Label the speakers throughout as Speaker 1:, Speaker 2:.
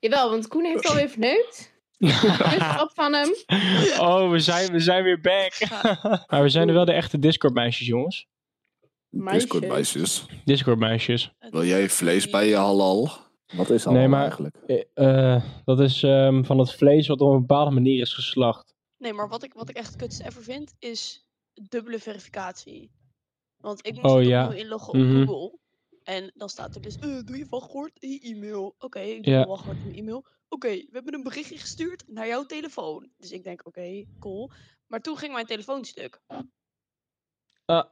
Speaker 1: Jawel, want Koen heeft alweer verneukt. Dus op van hem.
Speaker 2: oh, we zijn, we zijn weer back. maar we zijn er wel de echte Discord-meisjes, jongens.
Speaker 1: Meisje.
Speaker 3: Discord meisjes.
Speaker 2: Discord-meisjes.
Speaker 3: Wil jij vlees bij je halal?
Speaker 4: Wat is dat
Speaker 2: Nee, maar-
Speaker 4: eigenlijk?
Speaker 2: Eh, eh, dat is ehm, van het vlees wat op een bepaalde manier is geslacht.
Speaker 5: Nee, maar wat ik, wat ik echt het kutste ever vind, is dubbele verificatie. Want ik moest
Speaker 2: Oh,
Speaker 5: het
Speaker 2: ja.
Speaker 5: opnieuw inloggen op
Speaker 2: Mhm.
Speaker 5: Google. En dan staat er dus, eh, doe je wachtwoord in je e-mail. Oké, ik doe
Speaker 2: Ja.
Speaker 5: mijn wachtwoord in mijn e-mail. Oké, we hebben een berichtje gestuurd naar jouw telefoon. Dus ik denk, oké, cool. Maar toen ging mijn telefoon stuk.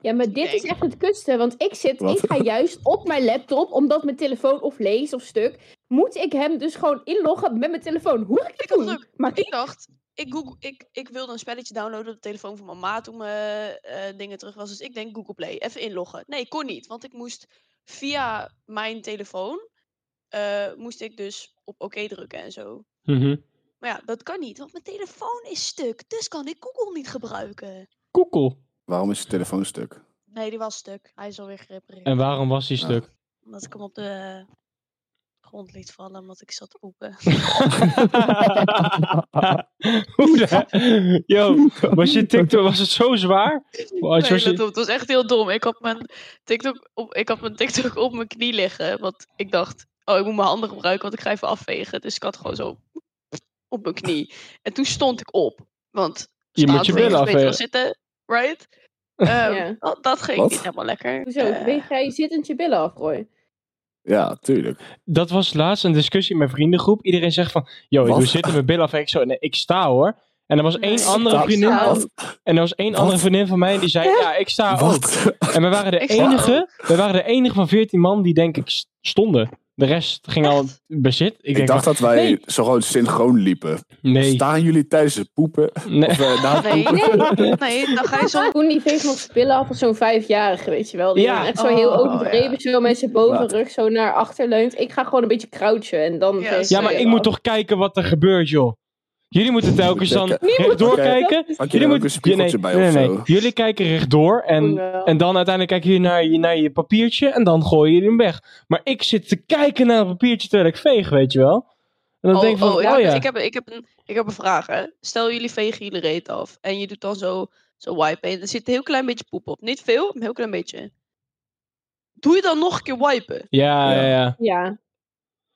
Speaker 1: Ja, maar dit is echt het kutste, want ik zit,
Speaker 3: Wat?
Speaker 1: ik ga juist op mijn laptop, omdat mijn telefoon of lees of stuk, moet ik hem dus gewoon inloggen met mijn telefoon. Hoe ga ik dat
Speaker 5: Ik had
Speaker 1: doen?
Speaker 5: geluk.
Speaker 1: Maar
Speaker 5: Ik dacht, ik, Google, ik, ik wilde een spelletje downloaden op de telefoon van mijn ma toen mijn eh, dingen terug was. Dus ik denk Google Play, even inloggen. Nee, kon niet, want ik moest via mijn telefoon, eh, moest ik dus op oké drukken en zo.
Speaker 2: Mhm.
Speaker 5: Maar ja, dat kan niet, want mijn telefoon is stuk. Dus kan ik Google niet gebruiken.
Speaker 2: Koekel.
Speaker 3: Waarom is je telefoon stuk?
Speaker 5: Nee, die was stuk. Hij is alweer gerepareerd.
Speaker 2: En waarom was die
Speaker 3: Ja.
Speaker 2: stuk?
Speaker 5: Omdat ik hem op de grond liet vallen, omdat ik zat te poepen.
Speaker 2: Hoe de... Yo, was je TikTok, was het zo zwaar? Was,
Speaker 5: Nee,
Speaker 2: was je-
Speaker 5: let op, het was echt heel dom. Ik had mijn TikTok op, ik had mijn, TikTok op mijn knie liggen. Want ik dacht, oh, ik moet mijn handen gebruiken, want ik ga even afvegen. Dus ik had gewoon zo op mijn knie. En toen stond ik op. Want
Speaker 2: Je moet
Speaker 5: staand
Speaker 2: je
Speaker 5: vegen
Speaker 2: billen
Speaker 5: is beter dan
Speaker 2: afvegen.
Speaker 5: zitten, right? Ehm,
Speaker 1: Ja.
Speaker 5: dat- Dat ging
Speaker 3: Wat?
Speaker 5: niet helemaal lekker.
Speaker 1: Hoezo?
Speaker 5: Eh,
Speaker 1: Weet jij je zittend je billen af, Roy?
Speaker 3: Ja, tuurlijk.
Speaker 2: Dat was laatst een discussie in mijn vriendengroep. Iedereen zegt van, yo, ik
Speaker 3: Wat?
Speaker 2: doe zitten met mijn billen af. Ik zo, nee, ik sta hoor. En er was
Speaker 5: Nee,
Speaker 2: één
Speaker 5: ik
Speaker 2: andere
Speaker 5: sta.
Speaker 2: vriendin.
Speaker 5: Wat?
Speaker 2: En er was één andere vriendin van mij die zei, ja, Ah, oh. ik sta ook.
Speaker 3: Wat?
Speaker 2: En we waren de
Speaker 5: Ik sta
Speaker 2: enige, we waren de enige van 14 man die denk ik st- stonden. De rest ging al bezit. Ik,
Speaker 3: Ik,
Speaker 2: denk
Speaker 3: dacht dat wij
Speaker 2: nee.
Speaker 3: zo gewoon synchroon liepen.
Speaker 2: van, nee,
Speaker 3: Staan jullie tijdens het poepen?
Speaker 2: nee.
Speaker 3: Of, eh, na het
Speaker 5: Nee,
Speaker 3: poepen?
Speaker 5: nee, nee, dan ga je zo...
Speaker 1: Koen die veegt nog zijn billen af als zo'n vijfjarige, weet je wel. Die
Speaker 2: Ja.
Speaker 1: dan echt zo heel
Speaker 5: Oh,
Speaker 1: overdreven, zo met zijn bovenrug zo naar achter leunt. Ik ga gewoon een beetje crouchen en dan...
Speaker 5: Ja,
Speaker 1: veeg
Speaker 2: Ja, maar
Speaker 1: je
Speaker 2: ik
Speaker 1: af.
Speaker 2: moet toch kijken wat er gebeurt, joh. Jullie moeten telkens dan
Speaker 3: Checken.
Speaker 2: rechtdoor
Speaker 3: Oké.
Speaker 2: kijken.
Speaker 3: Pak je
Speaker 2: Jullie
Speaker 3: er ook
Speaker 2: moeten
Speaker 3: een spiegeltje bij of zo?
Speaker 2: Jullie kijken rechtdoor en,
Speaker 1: Ja.
Speaker 2: en dan uiteindelijk kijk je naar, je naar je papiertje en dan gooi je hem weg. Maar ik zit te kijken naar het papiertje terwijl ik veeg, weet je wel. En dan denk ik van, oh,
Speaker 5: ik, heb,
Speaker 2: ja.
Speaker 5: dus ik, heb, ik, heb een, ik heb een vraag, hè. Stel, jullie vegen jullie reet af. En je doet dan zo, zo wipen. En er zit een heel klein beetje poep op. Niet veel, maar een heel klein beetje. Doe je dan nog een keer wipen?
Speaker 2: Ja, ja,
Speaker 3: Ja.
Speaker 2: ja.
Speaker 1: Ja.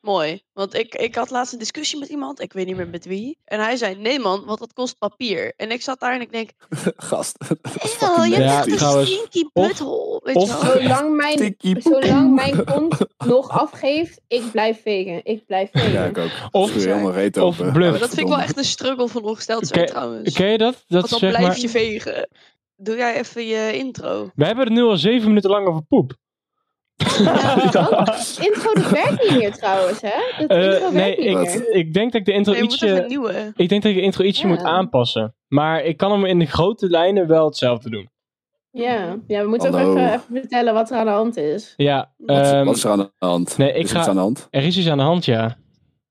Speaker 5: Mooi. Want ik, ik had laatst een discussie met iemand. Ik weet niet meer met wie. En hij zei, nee man, want dat kost papier. En ik zat daar en ik denk,
Speaker 3: Gast. dat is
Speaker 5: oh,
Speaker 3: fucking
Speaker 5: je hebt
Speaker 2: Ja,
Speaker 5: echt
Speaker 3: nasty.
Speaker 5: een
Speaker 2: trouwens.
Speaker 5: stinky
Speaker 2: Of-
Speaker 5: butthole. Weet
Speaker 2: of-
Speaker 5: je wel?
Speaker 1: Zolang mijn,
Speaker 3: Tikkie poep.
Speaker 1: zolang mijn kont nog afgeeft, ik blijf vegen. Ik blijf vegen.
Speaker 3: Ja, ik ook.
Speaker 2: Of-
Speaker 3: Scheur helemaal reet
Speaker 2: of
Speaker 3: open.
Speaker 2: bluff.
Speaker 5: Maar dat vind ik wel echt een struggle van ongesteld zijn
Speaker 2: Oké,
Speaker 5: trouwens.
Speaker 2: Ken je dat? Dat
Speaker 5: want dan
Speaker 2: zeg
Speaker 5: blijf
Speaker 2: maar,
Speaker 5: je vegen. Doe jij even je intro.
Speaker 2: we hebben het nu al zeven minuten lang over poep.
Speaker 1: Intro, dat werkt niet meer trouwens, hè? Dat
Speaker 2: Eh,
Speaker 1: intro
Speaker 2: nee,
Speaker 1: werkt niet
Speaker 2: ik,
Speaker 1: meer.
Speaker 2: ik denk dat ik de intro
Speaker 5: Nee, je moet even een
Speaker 2: ietsje...
Speaker 5: nieuwe.
Speaker 2: Ik denk dat ik de intro ietsje
Speaker 1: Ja.
Speaker 2: moet aanpassen. Maar ik kan hem in de grote lijnen wel hetzelfde doen.
Speaker 1: Ja. ja, we moeten
Speaker 3: Hallo.
Speaker 1: ook even, even vertellen wat er aan de hand is.
Speaker 2: Ja,
Speaker 5: Wat-
Speaker 2: ehm,
Speaker 3: Wat is er aan de hand?
Speaker 2: nee, ik
Speaker 3: is er iets
Speaker 2: ga-
Speaker 3: aan de hand?
Speaker 2: er is iets aan de hand, ja.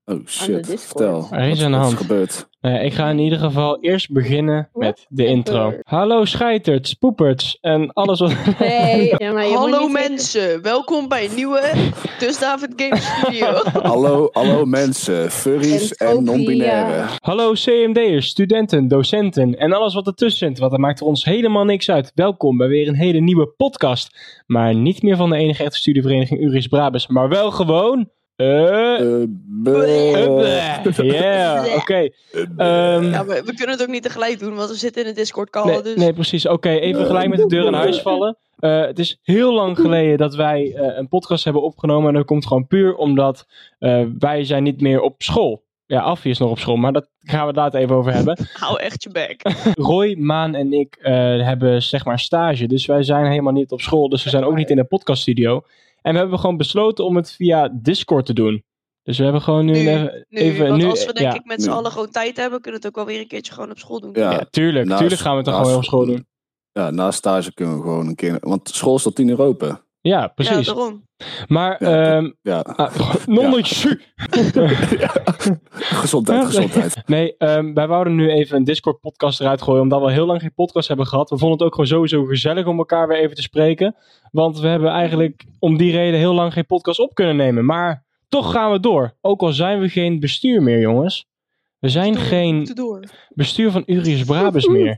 Speaker 3: Oh
Speaker 1: Aan de
Speaker 3: shit,
Speaker 1: Discord.
Speaker 3: vertel.
Speaker 2: Er is
Speaker 3: Wat-
Speaker 2: aan de
Speaker 3: wat
Speaker 2: hand.
Speaker 3: is gebeurd?
Speaker 2: Nee, Nou ik ga in ieder geval eerst beginnen met de intro. Hallo scheiterts, poeperts en alles wat...
Speaker 1: Nee, ja, maar je moet
Speaker 5: Hallo
Speaker 1: niet
Speaker 5: mensen, welkom bij een nieuwe Dus David Games video.
Speaker 3: Hallo, hallo mensen, furries
Speaker 1: En
Speaker 3: en non-binaire.
Speaker 2: Hallo CMD'ers, studenten, docenten en alles wat ertussen zit, want dat maakt er ons helemaal niks uit. Welkom bij weer een hele nieuwe podcast, maar niet meer van de enige echte studievereniging Uris Brabus, maar wel gewoon... eh
Speaker 3: Eh, bleh.
Speaker 2: eh, Yeah, oké. Ehm,
Speaker 5: Ja, we, we kunnen het ook niet tegelijk doen, want we zitten in een Discord call.
Speaker 2: Nee,
Speaker 5: dus
Speaker 2: nee, precies. Oké, even gelijk met de deur in huis vallen. Eh, het is heel lang geleden dat wij eh, een podcast hebben opgenomen. En dat komt gewoon puur omdat eh, wij zijn niet meer op school. Ja, Affie is nog op school, maar dat gaan we het later even over hebben.
Speaker 5: hou echt je bek.
Speaker 2: Roy, Maan en ik eh, hebben zeg maar stage. Dus wij zijn helemaal niet op school. Dus we zijn ook niet in de podcaststudio. En we hebben gewoon besloten om het via Discord te doen. Dus we hebben gewoon nu,
Speaker 5: Nu,
Speaker 2: even...
Speaker 5: Nu,
Speaker 2: even
Speaker 5: want
Speaker 2: nu, eh,
Speaker 5: als we denk
Speaker 2: ja.
Speaker 5: ik met z'n
Speaker 3: nu.
Speaker 5: allen gewoon tijd hebben, kunnen we het ook wel weer een keertje gewoon op school doen.
Speaker 3: Ja,
Speaker 2: Ja, tuurlijk.
Speaker 3: naast-
Speaker 2: tuurlijk gaan we het dan
Speaker 3: naast-
Speaker 2: gewoon op school doen.
Speaker 3: Ja, na stage kunnen we gewoon een keer. Want school is tot 10 uur open.
Speaker 2: Ja,
Speaker 5: Ja,
Speaker 2: precies.
Speaker 5: daarom.
Speaker 2: Maar
Speaker 3: Ja.
Speaker 2: ehm,
Speaker 3: Ja,
Speaker 2: Ah, nonnetje.
Speaker 3: gezondheid, gezondheid.
Speaker 2: Nee, ehm, wij wouden nu even een Discord-podcast eruit gooien. Omdat we heel lang geen podcast hebben gehad. We vonden het ook gewoon sowieso gezellig om elkaar weer even te spreken. Want we hebben eigenlijk om die reden heel lang geen podcast op kunnen nemen. Maar Toch gaan we door. Ook al zijn we geen bestuur meer, jongens. We zijn
Speaker 5: Door,
Speaker 2: geen
Speaker 5: moeten door.
Speaker 2: bestuur van Urius Brabus meer.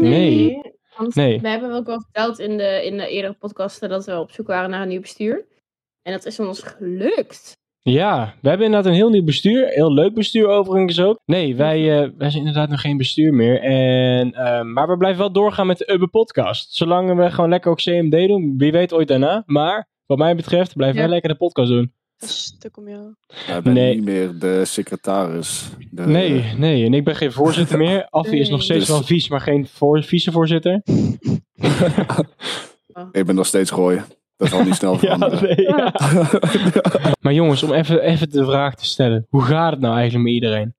Speaker 2: Nee.
Speaker 1: Want
Speaker 2: Nee.
Speaker 1: We hebben ook wel verteld in de, in de eerdere podcasten dat we op zoek waren naar een nieuw bestuur. En dat is ons gelukt.
Speaker 2: Ja, we hebben inderdaad een heel nieuw bestuur. Heel leuk bestuur overigens ook. Nee, wij, eh, wij zijn inderdaad nog geen bestuur meer. En, eh, maar we blijven wel doorgaan met de Ubbe podcast. Zolang we gewoon lekker ook CMD doen. Wie weet ooit daarna. Maar wat mij betreft blijven
Speaker 1: Ja.
Speaker 2: wij lekker de podcast doen.
Speaker 5: Dat is stuk om jou.
Speaker 3: Jij bent
Speaker 2: Nee.
Speaker 3: niet meer de secretaris. De,
Speaker 2: Nee, nee. En ik ben geen voorzitter meer. Affie is nog
Speaker 1: Nee.
Speaker 2: steeds
Speaker 3: Dus-
Speaker 2: wel vies, maar geen voor, vicevoorzitter.
Speaker 3: Ik ben nog steeds gooien. Dat zal niet snel
Speaker 2: Ja,
Speaker 3: veranderen.
Speaker 2: nee, ja. Maar jongens, om even, even de vraag te stellen. Hoe gaat het nou eigenlijk met iedereen?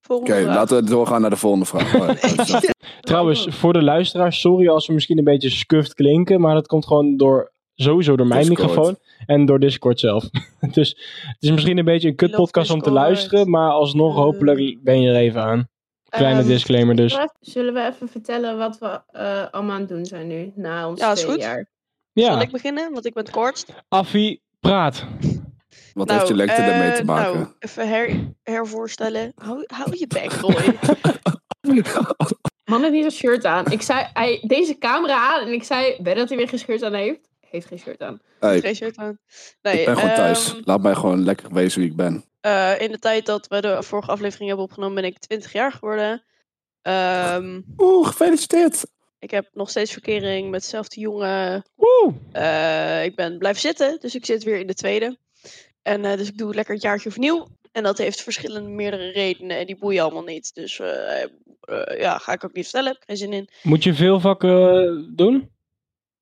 Speaker 5: Volgende
Speaker 3: Oké,
Speaker 5: vraag.
Speaker 3: laten we doorgaan naar de volgende vraag. Oh, ja, dat is wel-
Speaker 2: Trouwens, voor de luisteraars, sorry als we misschien een beetje scuffed klinken, maar dat komt gewoon door, sowieso door mijn
Speaker 3: Discord.
Speaker 2: microfoon en door Discord zelf. dus het is misschien een beetje een kut
Speaker 5: Love
Speaker 2: podcast om te
Speaker 5: Discord.
Speaker 2: luisteren, maar alsnog
Speaker 5: Eh.
Speaker 2: hopelijk ben je er even aan. Kleine
Speaker 5: Ehm,
Speaker 2: disclaimer dus.
Speaker 1: Zullen we even vertellen wat we eh, allemaal aan het doen zijn nu, na ons
Speaker 5: Ja, is
Speaker 1: twee
Speaker 5: goed.
Speaker 1: jaar?
Speaker 5: Zal
Speaker 2: Ja,
Speaker 5: ik beginnen? Want ik ben het kortst.
Speaker 2: Affie, praat.
Speaker 3: Wat heeft je lekte
Speaker 5: eh,
Speaker 3: ermee te maken?
Speaker 5: Nou, even her, hervoorstellen. Hou, hou je bek, Roy.
Speaker 1: Man heeft niet een shirt aan. Ik zei, hij, deze camera aan en ik zei, ben dat hij weer geen shirt aan heeft? Heeft geen shirt aan.
Speaker 3: Hey,
Speaker 5: Geen shirt aan. Nee,
Speaker 3: ik ben gewoon thuis.
Speaker 5: ehm,
Speaker 3: Laat mij gewoon lekker wezen wie ik ben.
Speaker 5: eh, in de tijd dat we de vorige aflevering hebben opgenomen, ben ik 20 jaar geworden. Ehm,
Speaker 3: Oeh, gefeliciteerd.
Speaker 5: ik heb nog steeds verkering met dezelfde jongen.
Speaker 2: Woe!
Speaker 5: Eh, ik ben blijven zitten, dus ik zit weer in de tweede. En eh, dus ik doe lekker het jaartje opnieuw. En dat heeft verschillende meerdere redenen. En die boeien allemaal niet. Dus eh, eh, ja, ga ik ook niet vertellen. Heb ik geen zin in.
Speaker 2: Moet je veel vakken eh, doen?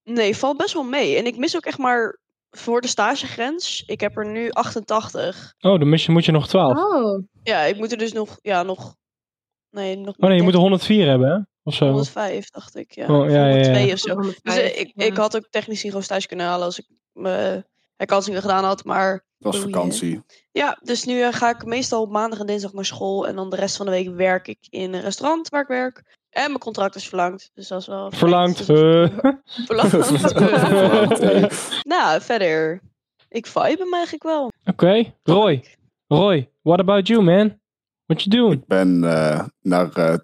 Speaker 5: Nee, valt best wel mee. En ik mis ook echt maar voor de stagegrens. Ik heb er nu 88.
Speaker 2: Oh, dan mis je, moet je nog 12. Oh,
Speaker 1: Oh.
Speaker 5: Ja, ik moet er dus nog. Ja, nog. Nee, nog.
Speaker 2: Oh nee, je moet
Speaker 5: 13,
Speaker 2: er 104 hebben, hè? Of zo.
Speaker 5: 105, dacht ik. Ja,
Speaker 2: Oh, ja, ja, ja.
Speaker 5: 102 of zo. Dus eh, ik,
Speaker 1: Ja.
Speaker 5: ik had ook technisch niet gewoon stage kunnen halen als ik mijn herkansingen gedaan had. Maar
Speaker 3: Het was
Speaker 5: Oei, hè.
Speaker 3: vakantie.
Speaker 5: ja, dus nu eh, ga ik meestal op maandag en dinsdag naar school. En dan de rest van de week werk ik in een restaurant waar ik werk. En mijn contract is verlangd. Dus dat is wel. fijn. Dus-
Speaker 2: Verlangd. eh.
Speaker 5: Verlangd.
Speaker 3: Verlangd, hey.
Speaker 5: nou, verder. Ik vibe hem eigenlijk wel.
Speaker 2: Oké, Roy. Roy, what about you, man? What you doing?
Speaker 3: Ik ben eh, naar eh,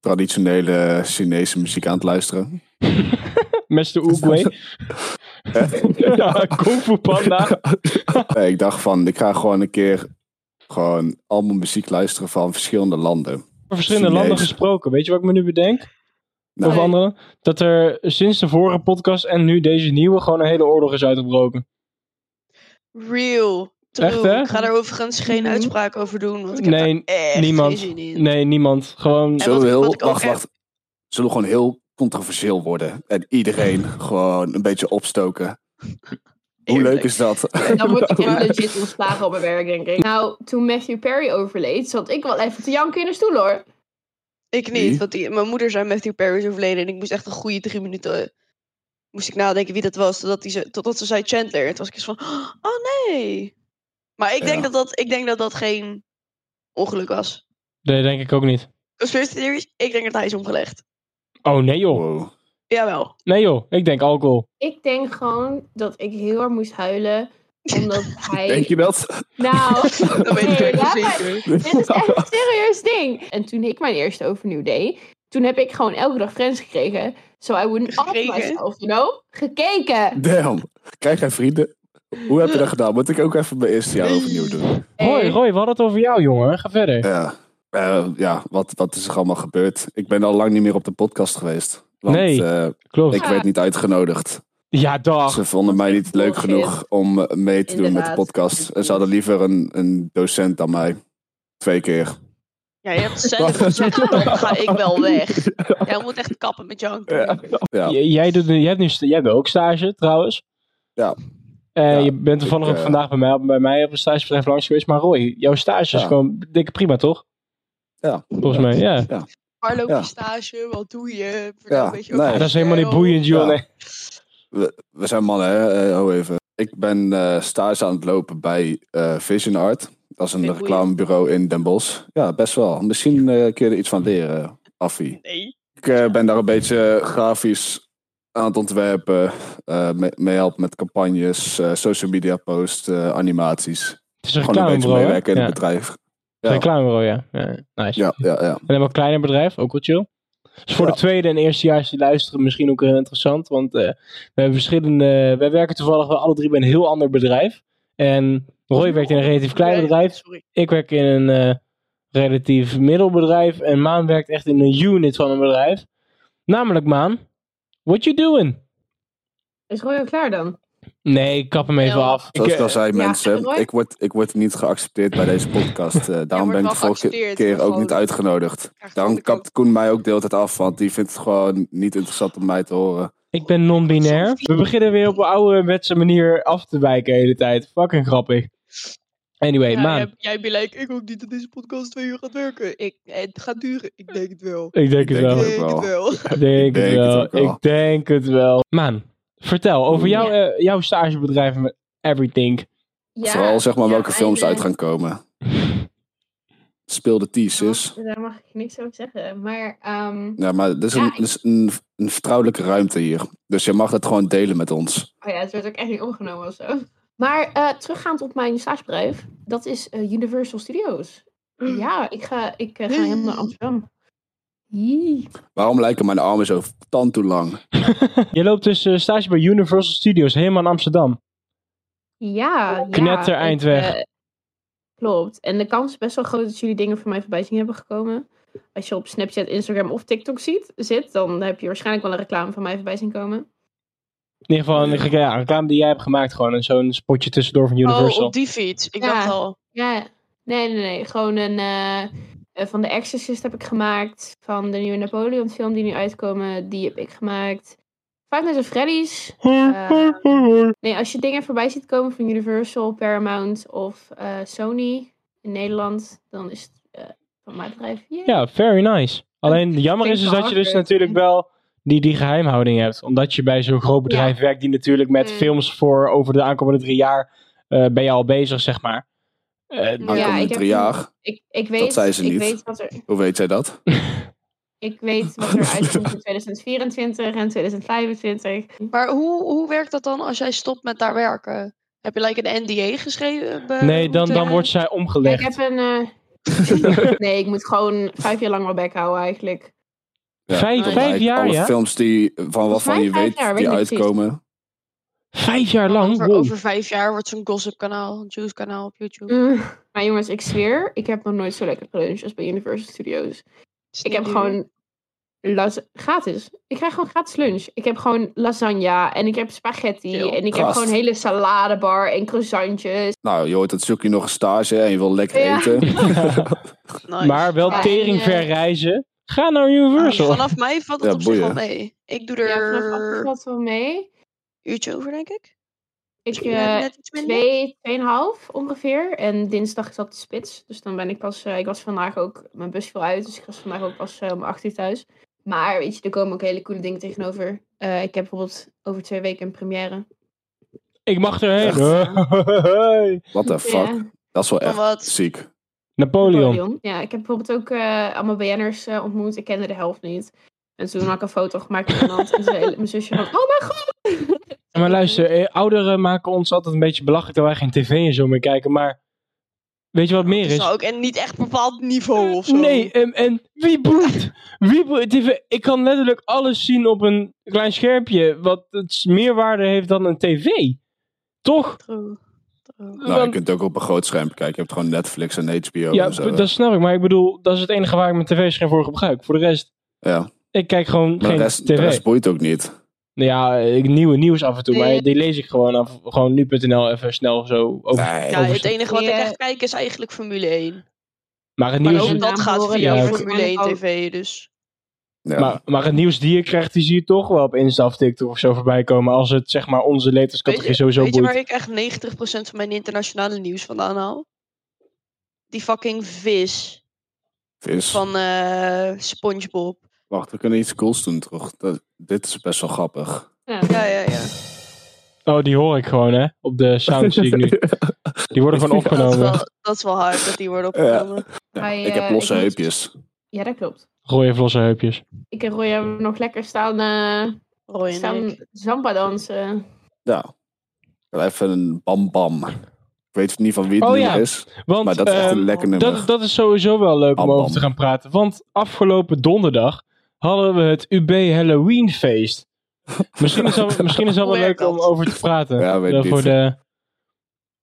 Speaker 3: traditionele Chinese muziek aan het luisteren.
Speaker 2: Mr. Oogway. ja, Kung Fu Panda.
Speaker 3: Eh, ik dacht van, ik ga gewoon een keer gewoon allemaal muziek luisteren van verschillende landen.
Speaker 2: Over verschillende
Speaker 3: Chinees.
Speaker 2: landen gesproken. Weet je wat ik me nu bedenk?
Speaker 3: Nou.
Speaker 2: Over andere? Dat er sinds de vorige podcast en nu deze nieuwe gewoon een hele oorlog is uitgebroken.
Speaker 5: Real. True.
Speaker 2: Echt, hè?
Speaker 5: Ik ga daar overigens geen
Speaker 1: Mhm.
Speaker 5: uitspraak over doen. Want ik heb
Speaker 2: Nee,
Speaker 5: daar echt
Speaker 2: niemand.
Speaker 5: geen zin in.
Speaker 2: Nee, niemand. Gewoon.
Speaker 5: En
Speaker 3: Zullen
Speaker 5: wat
Speaker 3: we
Speaker 5: ik-
Speaker 3: heel,
Speaker 5: wat ik ook
Speaker 3: wacht,
Speaker 5: heb-
Speaker 3: wacht. Zullen we gewoon heel controversieel worden en iedereen gewoon een beetje opstoken. Hoe
Speaker 5: Eerlijk.
Speaker 3: leuk is dat?
Speaker 1: Dan word ik gewoon legit ontslagen op mijn werk, denk ik. Nou, toen Matthew Perry overleed, zat ik wel even te janken in de stoel, hoor.
Speaker 5: Ik niet,
Speaker 3: Wie?
Speaker 5: want die, mijn moeder zei Matthew Perry is overleden en ik moest echt een goede drie minuten... eh, Moest ik nadenken wie dat was, totdat, die ze, totdat ze zei Chandler. En toen was ik eens van, oh nee. Maar ik denk,
Speaker 3: Ja.
Speaker 5: dat, dat, ik denk dat dat geen ongeluk was.
Speaker 2: Nee, denk ik ook niet.
Speaker 5: Conspiracy theories, ik denk dat hij is omgelegd.
Speaker 2: Oh, nee joh.
Speaker 3: Wow.
Speaker 5: Jawel.
Speaker 2: Nee joh. Ik denk alcohol.
Speaker 1: Ik denk gewoon dat ik heel hard moest huilen, omdat hij...
Speaker 3: Denk je dat?
Speaker 1: Nou,
Speaker 5: Dat weet ik
Speaker 1: Nee,
Speaker 5: echt
Speaker 1: laat
Speaker 5: niet
Speaker 1: maar-
Speaker 5: zeker.
Speaker 1: dit is echt een serieus ding. En toen ik mijn eerste overnieuw deed, toen heb ik gewoon elke dag friends gekregen. So I wouldn't off
Speaker 5: Gekregen?
Speaker 1: myself, you know? Gekeken.
Speaker 3: Damn. Krijg jij vrienden? Hoe heb je dat gedaan? Moet ik ook even mijn eerste jaar overnieuw doen?
Speaker 2: Roy, Roy, we hadden het over jou, jongen. Ga verder.
Speaker 3: Ja. Eh, ja, wat, wat is er allemaal gebeurd? Ik ben al lang niet meer op de podcast geweest. Want
Speaker 2: Nee.
Speaker 3: eh,
Speaker 2: Klopt.
Speaker 3: ik werd niet uitgenodigd.
Speaker 2: Ja, dag.
Speaker 3: Ze vonden mij niet leuk
Speaker 1: bullshit.
Speaker 3: genoeg om eh, mee te doen met de
Speaker 1: Inderdaad.
Speaker 3: podcast. En ze hadden liever een, een docent dan mij. Twee keer.
Speaker 5: Ja, je hebt zelf gezegd, dan ga ik wel weg. Jij moet echt kappen met janken.
Speaker 3: Ja.
Speaker 2: J- Jij, doet, nu- jij, hebt nu, sta- jij bent ook stage trouwens.
Speaker 3: Ja.
Speaker 2: Eh,
Speaker 3: Ja,
Speaker 2: je bent toevallig
Speaker 3: ik,
Speaker 2: ook
Speaker 3: eh,
Speaker 2: vandaag bij mij, bij mij op een stagebedrijf langs geweest. Maar Roy, jouw stage is
Speaker 3: Ja.
Speaker 2: gewoon dikke prima, toch?
Speaker 3: Ja.
Speaker 2: Volgens mij, ja.
Speaker 5: Waar loop je
Speaker 3: Ja.
Speaker 5: stage? Wat doe je? Vertel
Speaker 3: Ja,
Speaker 5: een beetje
Speaker 3: nee.
Speaker 5: over
Speaker 2: Ja, dat is helemaal niet
Speaker 5: jezelf.
Speaker 2: boeiend, joh.
Speaker 3: Ja.
Speaker 2: nee.
Speaker 3: We, we zijn mannen, hè? Eh, hou even. Ik ben eh, stage aan het lopen bij eh, Vision Art. Dat is
Speaker 5: Vind
Speaker 3: een
Speaker 5: ik
Speaker 3: reclamebureau in Den Bosch. Ja, best wel. Misschien eh kun je er iets van leren, Affie.
Speaker 5: Nee.
Speaker 3: Ik eh, ben daar een beetje grafisch aan het ontwerpen, eh me- meehelpen met campagnes, eh, social media posts, eh, animaties.
Speaker 2: Het is een
Speaker 3: Gewoon een beetje
Speaker 2: reclamebureau, hè?
Speaker 3: meewerken in
Speaker 2: Ja,
Speaker 3: het bedrijf.
Speaker 2: het is een reclamebureau, ja. ja. Nice.
Speaker 3: Ja, ja, ja.
Speaker 2: En dan hebben we een kleiner bedrijf, ook wel chill. Dus voor
Speaker 3: Ja.
Speaker 2: de tweede en eerstejaars die luisteren misschien ook heel interessant. Want eh, we hebben verschillende... Wij werken toevallig wel alle drie bij een heel ander bedrijf. En Roy werkt in een relatief klein
Speaker 5: Nee,
Speaker 2: bedrijf.
Speaker 5: Sorry.
Speaker 2: Ik werk in een eh, relatief middelbedrijf. En Maan werkt echt in een unit van een bedrijf. Namelijk Maan, what you doing?
Speaker 1: Is Roy al klaar dan?
Speaker 2: Nee, ik kap hem even
Speaker 5: Ja.
Speaker 2: af.
Speaker 3: Zoals
Speaker 2: Ik,
Speaker 3: ik al
Speaker 2: eh,
Speaker 3: zei,
Speaker 1: ja,
Speaker 3: mensen,
Speaker 1: Roy?
Speaker 3: ik word, ik word niet geaccepteerd bij deze podcast. eh,
Speaker 5: wordt
Speaker 3: daarom ben
Speaker 5: wel
Speaker 3: ik de vorige
Speaker 5: geaccepteerd,
Speaker 3: keer
Speaker 5: maar
Speaker 3: ook
Speaker 5: gewoon-
Speaker 3: niet uitgenodigd.
Speaker 5: Krijg
Speaker 3: Daarom
Speaker 5: gewoon de
Speaker 3: kapt Koen mij ook de hele tijd af, want die vindt het gewoon niet interessant om mij te horen.
Speaker 2: eh, ik ben non-binair. We beginnen weer op een ouderwetse manier af te wijken de hele tijd. Fucking grappig. Anyway,
Speaker 5: Ja,
Speaker 2: Maan.
Speaker 5: jij, jij bent like, ik hoop niet dat deze podcast twee uur gaat werken. Ik, het gaat duren. Ik denk het wel.
Speaker 2: Ik denk
Speaker 3: Ik
Speaker 2: het
Speaker 3: denk
Speaker 2: wel.
Speaker 5: Ik
Speaker 3: het
Speaker 5: denk
Speaker 3: wel.
Speaker 5: het wel.
Speaker 2: Ik denk het
Speaker 3: denk het
Speaker 2: wel.
Speaker 3: ook wel.
Speaker 2: Ik denk het wel. Maan, vertel over
Speaker 3: Oeh.
Speaker 2: jouw, eh, jouw stagebedrijf met everything.
Speaker 3: Vooral zeg maar
Speaker 1: ja,
Speaker 3: welke films
Speaker 1: en, eh,
Speaker 3: uit gaan komen. Speel de teasers.
Speaker 1: Daar mag ik niks over zeggen. Maar ehm,
Speaker 3: Ja, maar dit is,
Speaker 1: Ja,
Speaker 3: een,
Speaker 1: ik-
Speaker 3: dit is een, een vertrouwelijke ruimte hier. Dus je mag dat gewoon delen met ons.
Speaker 1: Oh ja, het werd ook echt niet omgenomen of zo. Maar eh, teruggaand op mijn stagebedrijf, dat is eh, Universal Studios.
Speaker 5: Mm.
Speaker 1: Ja, ik ga, ik, eh, ga
Speaker 5: Nee.
Speaker 1: helemaal naar Amsterdam. Jee.
Speaker 3: Waarom lijken mijn armen zo tand toe lang?
Speaker 2: Je loopt dus eh, stage bij Universal Studios, helemaal in Amsterdam.
Speaker 1: Ja, ja.
Speaker 2: Knetter
Speaker 1: ik,
Speaker 2: Eindweg.
Speaker 1: eh, klopt. En de kans is best wel groot dat jullie dingen van mij voorbij zien hebben gekomen. Als je op Snapchat, Instagram of TikTok ziet, zit, dan heb je waarschijnlijk wel een reclame van mij voorbij zien komen.
Speaker 2: In ieder geval een, ge- ja, een reclame die jij hebt gemaakt, gewoon. En Zo'n spotje tussendoor van
Speaker 5: Oh,
Speaker 2: Universal.
Speaker 5: op die fiets. Ik
Speaker 1: Ja.
Speaker 5: dacht al.
Speaker 1: Ja, nee, nee, nee. Gewoon een. eh, eh, van The Exorcist heb ik gemaakt. Van de nieuwe Napoleon-film die nu uitkomen, die heb ik gemaakt. Five Nights at Freddy's. eh, Nee, als je dingen voorbij ziet komen van Universal, Paramount of eh, Sony in Nederland, dan is het eh, van mijn bedrijf. Yay.
Speaker 2: Ja, very nice. Alleen jammer is dus dat je dus natuurlijk wel die, die geheimhouding hebt. Omdat je bij zo'n groot bedrijf werkt die natuurlijk met
Speaker 1: Mm.
Speaker 2: films voor over de aankomende drie jaar eh, ben je al bezig, zeg maar. Eh,
Speaker 1: Ja,
Speaker 3: Aankomende
Speaker 1: ik heb
Speaker 3: drie
Speaker 1: een-
Speaker 3: jaar.
Speaker 1: Ik, ik weet,
Speaker 3: zei ze
Speaker 1: Ik
Speaker 3: niet.
Speaker 1: weet wat er,
Speaker 3: Hoe weet jij dat?
Speaker 1: ik weet wat er uitkomt in 2024 en 2025.
Speaker 5: Maar hoe, hoe werkt dat dan als jij stopt met daar werken? Heb je like een NDA geschreven? be-
Speaker 2: nee, dan,
Speaker 5: moeten-
Speaker 2: dan wordt zij
Speaker 1: Ja,
Speaker 2: omgelegd.
Speaker 1: ik heb een. eh, nee, ik moet gewoon vijf jaar lang mijn bek houden eigenlijk.
Speaker 3: Ja,
Speaker 2: Vijf-
Speaker 3: gelijk.
Speaker 2: vijf jaar,
Speaker 3: Alle
Speaker 2: ja?
Speaker 3: films die, van waarvan
Speaker 1: mij
Speaker 3: je
Speaker 1: vijf
Speaker 3: weet
Speaker 1: jaar,
Speaker 3: die
Speaker 1: weet ik niet
Speaker 3: uitkomen.
Speaker 2: Vijf jaar lang?
Speaker 5: Over,
Speaker 2: Wow.
Speaker 5: over vijf jaar wordt zo'n gossip kanaal, een juice kanaal op YouTube.
Speaker 1: Mm. Maar jongens, ik zweer, ik heb nog nooit zo lekker geluncht als bij Universal Studios.
Speaker 5: Het is
Speaker 1: Ik
Speaker 5: niet
Speaker 1: heb
Speaker 5: duur.
Speaker 1: gewoon las gratis. Ik krijg gewoon gratis lunch. Ik heb gewoon lasagne en ik heb spaghetti
Speaker 5: Chill.
Speaker 1: en ik heb
Speaker 3: Gast.
Speaker 1: gewoon hele saladebar en croissantjes.
Speaker 3: Nou, je hoort dat zoek je nog een stage en je wil lekker
Speaker 1: Ja.
Speaker 3: eten.
Speaker 5: Nice.
Speaker 2: maar wel
Speaker 1: Ja,
Speaker 2: tering
Speaker 1: en, eh,
Speaker 2: ver reizen. Ga naar Universal.
Speaker 5: Vanaf mij valt het
Speaker 3: Ja,
Speaker 5: op zich wel
Speaker 3: boeien.
Speaker 5: mee. Ik doe
Speaker 1: Ja,
Speaker 5: er
Speaker 1: vanaf acht
Speaker 5: een
Speaker 1: valt wel mee.
Speaker 5: uurtje over, denk ik.
Speaker 1: Ik
Speaker 5: Misschien net-
Speaker 1: eh
Speaker 5: net iets minder.
Speaker 1: twee, tweeënhalf ongeveer. En dinsdag is dat de spits. Dus dan ben ik pas. eh, ik was vandaag ook. Mijn bus viel uit. Dus ik was vandaag ook pas eh, om acht uur thuis. Maar weet je, er komen ook hele coole dingen tegenover. Eh, ik heb bijvoorbeeld over twee weken een première.
Speaker 2: Ik mag erheen.
Speaker 3: Echt?
Speaker 2: Hey.
Speaker 3: What the fuck?
Speaker 1: Ja,
Speaker 3: Dat is wel
Speaker 5: Van
Speaker 3: echt
Speaker 5: wat?
Speaker 3: ziek.
Speaker 2: Napoleon.
Speaker 1: Ja, ik heb bijvoorbeeld ook eh, allemaal BN'ers eh, ontmoet. Ik kende de helft niet. En toen had ik een foto gemaakt met iemand. en zei mijn zusje van, oh mijn god!
Speaker 2: Maar luister, eh, ouderen maken ons altijd een beetje belachelijk dat wij geen tv en zo meer kijken. Maar weet je wat meer
Speaker 5: Het is
Speaker 2: is?
Speaker 5: nou ook en niet echt een bepaald niveau of zo.
Speaker 2: Nee, en, en wie boeit? Wie boeit? TV? Ik kan letterlijk alles zien op een klein schermpje. Wat het meer waarde heeft dan een tv. Toch?
Speaker 5: True. True.
Speaker 3: Nou, je
Speaker 2: Want-
Speaker 3: kunt ook op een groot scherm kijken. Je hebt gewoon Netflix en HBO
Speaker 2: ja,
Speaker 3: en zo.
Speaker 2: dat snap ik. Maar ik bedoel, dat is het enige waar ik mijn tv-scherm voor gebruik. Voor de rest,
Speaker 3: ja.
Speaker 2: ik kijk gewoon
Speaker 3: Maar
Speaker 2: geen
Speaker 3: de rest, de
Speaker 2: tv.
Speaker 3: rest boeit ook niet.
Speaker 2: Nou Ja, ik, nieuwe nieuws af en toe. Maar
Speaker 1: Nee.
Speaker 2: die lees ik gewoon af. Gewoon nu.nl even snel zo over.
Speaker 3: Nee.
Speaker 5: Ja, het enige wat ik
Speaker 1: Ja.
Speaker 5: echt kijk is eigenlijk Formule 1.
Speaker 2: Maar het
Speaker 5: Maar
Speaker 2: nieuws...
Speaker 5: ook
Speaker 1: een
Speaker 5: dat
Speaker 1: naam
Speaker 5: gaat
Speaker 1: horen
Speaker 5: via
Speaker 2: die
Speaker 1: wordt
Speaker 5: Formule 1
Speaker 1: aangehouden.
Speaker 5: TV, dus...
Speaker 3: Ja.
Speaker 2: Maar, maar het nieuws die je krijgt, die zie je toch wel op Insta of TikTok of zo voorbij komen. Als het zeg maar onze leeftijdscategorie sowieso
Speaker 5: Weet je
Speaker 2: boeit.
Speaker 5: waar ik echt 90% van mijn internationale nieuws vandaan haal? Die fucking vis
Speaker 3: Vis.
Speaker 5: van eh, Spongebob.
Speaker 3: Wacht, we kunnen iets cools doen terug. Dat, dit is best wel grappig.
Speaker 1: Ja.
Speaker 5: Ja, ja, ja.
Speaker 2: Oh, die hoor ik gewoon, hè? Op de sound zie ik nu. Die worden gewoon
Speaker 5: Dat is,
Speaker 2: opgenomen.
Speaker 5: wel, dat is wel hard dat die worden opgenomen.
Speaker 3: Ja,
Speaker 1: Hij,
Speaker 3: ik heb
Speaker 1: eh,
Speaker 3: losse
Speaker 1: ik moet-
Speaker 3: heupjes.
Speaker 1: ja, dat klopt.
Speaker 2: Gooi even losse heupjes.
Speaker 1: Ik en Roy hebben nog lekker staan eh,
Speaker 5: Roy en
Speaker 1: Sam,
Speaker 5: Oh ik.
Speaker 1: Zampa dansen.
Speaker 3: Ja. Wel Even een bam bam. Ik weet niet van wie het
Speaker 2: Oh,
Speaker 3: nummer
Speaker 2: ja.
Speaker 3: is.
Speaker 2: Want
Speaker 3: Maar dat is echt
Speaker 2: ehm,
Speaker 3: een lekker nummer.
Speaker 2: dat, dat is sowieso wel leuk om
Speaker 3: Bam,
Speaker 2: over
Speaker 3: bam.
Speaker 2: te gaan praten. Want afgelopen donderdag hadden we het UB Halloween feest. Misschien is het misschien is al wel
Speaker 5: Hoe
Speaker 2: leuk
Speaker 5: werkt
Speaker 2: om
Speaker 5: dat?
Speaker 2: over te praten.
Speaker 3: Ja, weet
Speaker 2: Eh,
Speaker 3: niet.
Speaker 2: voor de,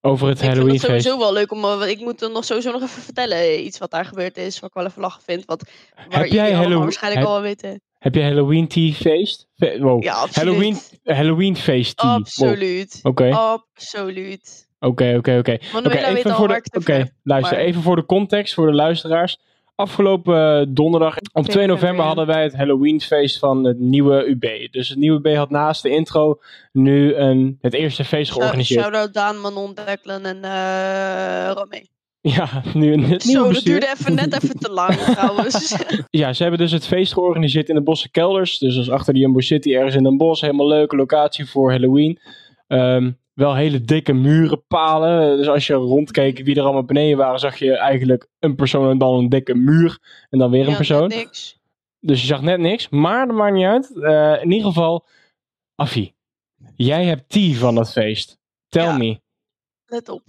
Speaker 2: over het
Speaker 5: Ik vind
Speaker 2: Halloween
Speaker 5: het
Speaker 2: feest.
Speaker 5: sowieso wel leuk om. eh, want ik moet dan nog sowieso nog even vertellen eh, iets wat daar gebeurd is. Wat ik wel even lachen vind. Wat, waar
Speaker 2: jij
Speaker 5: jullie allemaal
Speaker 2: Hallow-
Speaker 5: waarschijnlijk
Speaker 2: heb-
Speaker 5: al wel weten.
Speaker 2: Heb je Halloween tea feest? Fe- wow.
Speaker 5: Ja, absoluut.
Speaker 2: Halloween, Halloween feest tea. Wow.
Speaker 5: Absoluut.
Speaker 2: Oké,
Speaker 5: Absoluut.
Speaker 2: oké, oké, oké. Oké,
Speaker 5: Manuela weet
Speaker 2: even
Speaker 5: al
Speaker 2: voor
Speaker 5: waar
Speaker 2: de,
Speaker 5: ik het over
Speaker 2: oké,
Speaker 5: heb.
Speaker 2: luister,
Speaker 5: maar-
Speaker 2: even voor de context, voor de luisteraars. Afgelopen eh, donderdag, op 2 november,
Speaker 1: ja.
Speaker 2: hadden wij het Halloweenfeest van het nieuwe UB. Dus het nieuwe UB had naast de intro nu een, het eerste feest georganiseerd.
Speaker 5: Shout-out Daan, Manon, Declan en eh Romee.
Speaker 2: Ja, nu een, het nieuwe
Speaker 5: Zo, dat
Speaker 2: bestuur.
Speaker 5: duurde even net even te lang trouwens.
Speaker 2: Ja, ze hebben dus het feest georganiseerd in de Bosse Kelders. Dus dat is achter de Jumbo City, ergens in Den Bosch. Helemaal leuke locatie voor Halloween. Ehm, wel hele dikke muren, palen. Dus als je rondkeek wie er allemaal beneden waren, zag je eigenlijk een persoon en dan een dikke muur. En dan weer een
Speaker 5: Ja,
Speaker 2: persoon.
Speaker 5: net Niks.
Speaker 2: Dus je zag net niks. Maar dat maakt niet uit. Eh, in ieder geval, Affie, jij hebt tea van dat feest. Tell
Speaker 5: Ja.
Speaker 2: me.
Speaker 5: Let op.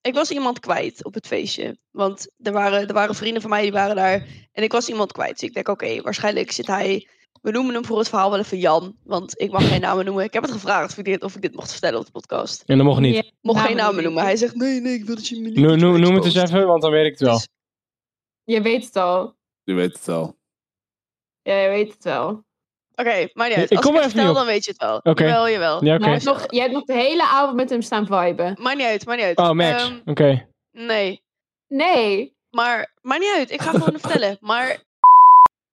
Speaker 5: Ik was iemand kwijt op het feestje. Want er waren, er waren vrienden van mij die waren daar. En ik was iemand kwijt. Dus ik denk, oké, waarschijnlijk zit hij... We noemen hem voor het verhaal wel even Jan. Want ik mag geen namen noemen. Ik heb het gevraagd of ik dit, of ik dit mocht vertellen op de podcast.
Speaker 2: En dat mocht niet.
Speaker 1: Ja,
Speaker 5: Mocht
Speaker 1: namen
Speaker 5: geen namen
Speaker 1: noemen.
Speaker 5: noemen. Hij zegt, nee, nee, ik wil dat je me niet...
Speaker 2: Noem, noem, noem het eens
Speaker 5: exposed."
Speaker 2: even, want dan weet ik het wel.
Speaker 5: Dus-
Speaker 1: Je weet het al.
Speaker 3: Je weet het al.
Speaker 1: Ja, je weet het wel.
Speaker 5: Oké, maar niet uit.
Speaker 2: Ik
Speaker 5: Als
Speaker 2: kom
Speaker 5: ik het
Speaker 2: er even niet
Speaker 5: vertel,
Speaker 2: op.
Speaker 5: dan weet je het wel.
Speaker 2: Oké.
Speaker 5: Jawel, jawel.
Speaker 2: Ja, oké.
Speaker 1: Maar je hebt, nog, je hebt nog de hele avond met hem staan viben.
Speaker 5: Maakt niet uit, maakt niet uit.
Speaker 2: Oh, Max.
Speaker 5: Ehm,
Speaker 2: Oké.
Speaker 5: nee.
Speaker 1: Nee.
Speaker 5: Maar, maar niet uit, ik ga gewoon vertellen. Maar.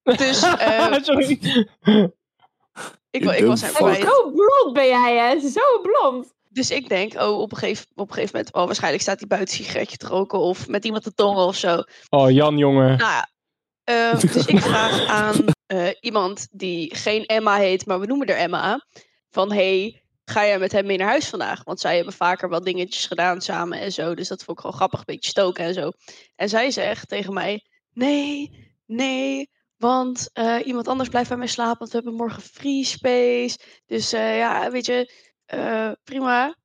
Speaker 5: Dus, eh,
Speaker 2: Sorry.
Speaker 5: ik,
Speaker 3: You
Speaker 5: wa- ik was
Speaker 3: dumb
Speaker 5: hem
Speaker 1: En
Speaker 3: fuck.
Speaker 5: kwijt.
Speaker 3: Right.
Speaker 1: zo blond ben jij, hè? Zo blond.
Speaker 5: Dus ik denk, oh, op een gegeven, op een gegeven moment. Oh, waarschijnlijk staat hij buiten een sigaretje te roken. Of met iemand te tongen of zo.
Speaker 2: Oh, Jan, jongen.
Speaker 5: Nou ja. ehm, dus ik vraag aan eh, iemand die geen Emma heet, maar we noemen haar Emma. Van hey, ga jij met hem mee naar huis vandaag? Want zij hebben vaker wel dingetjes gedaan samen en zo. Dus dat vond ik gewoon grappig, een beetje stoken en zo. En zij zegt tegen mij: Nee, nee. Want eh, iemand anders blijft bij mij slapen, want we hebben morgen free space. Dus eh, ja, weet je, eh, prima.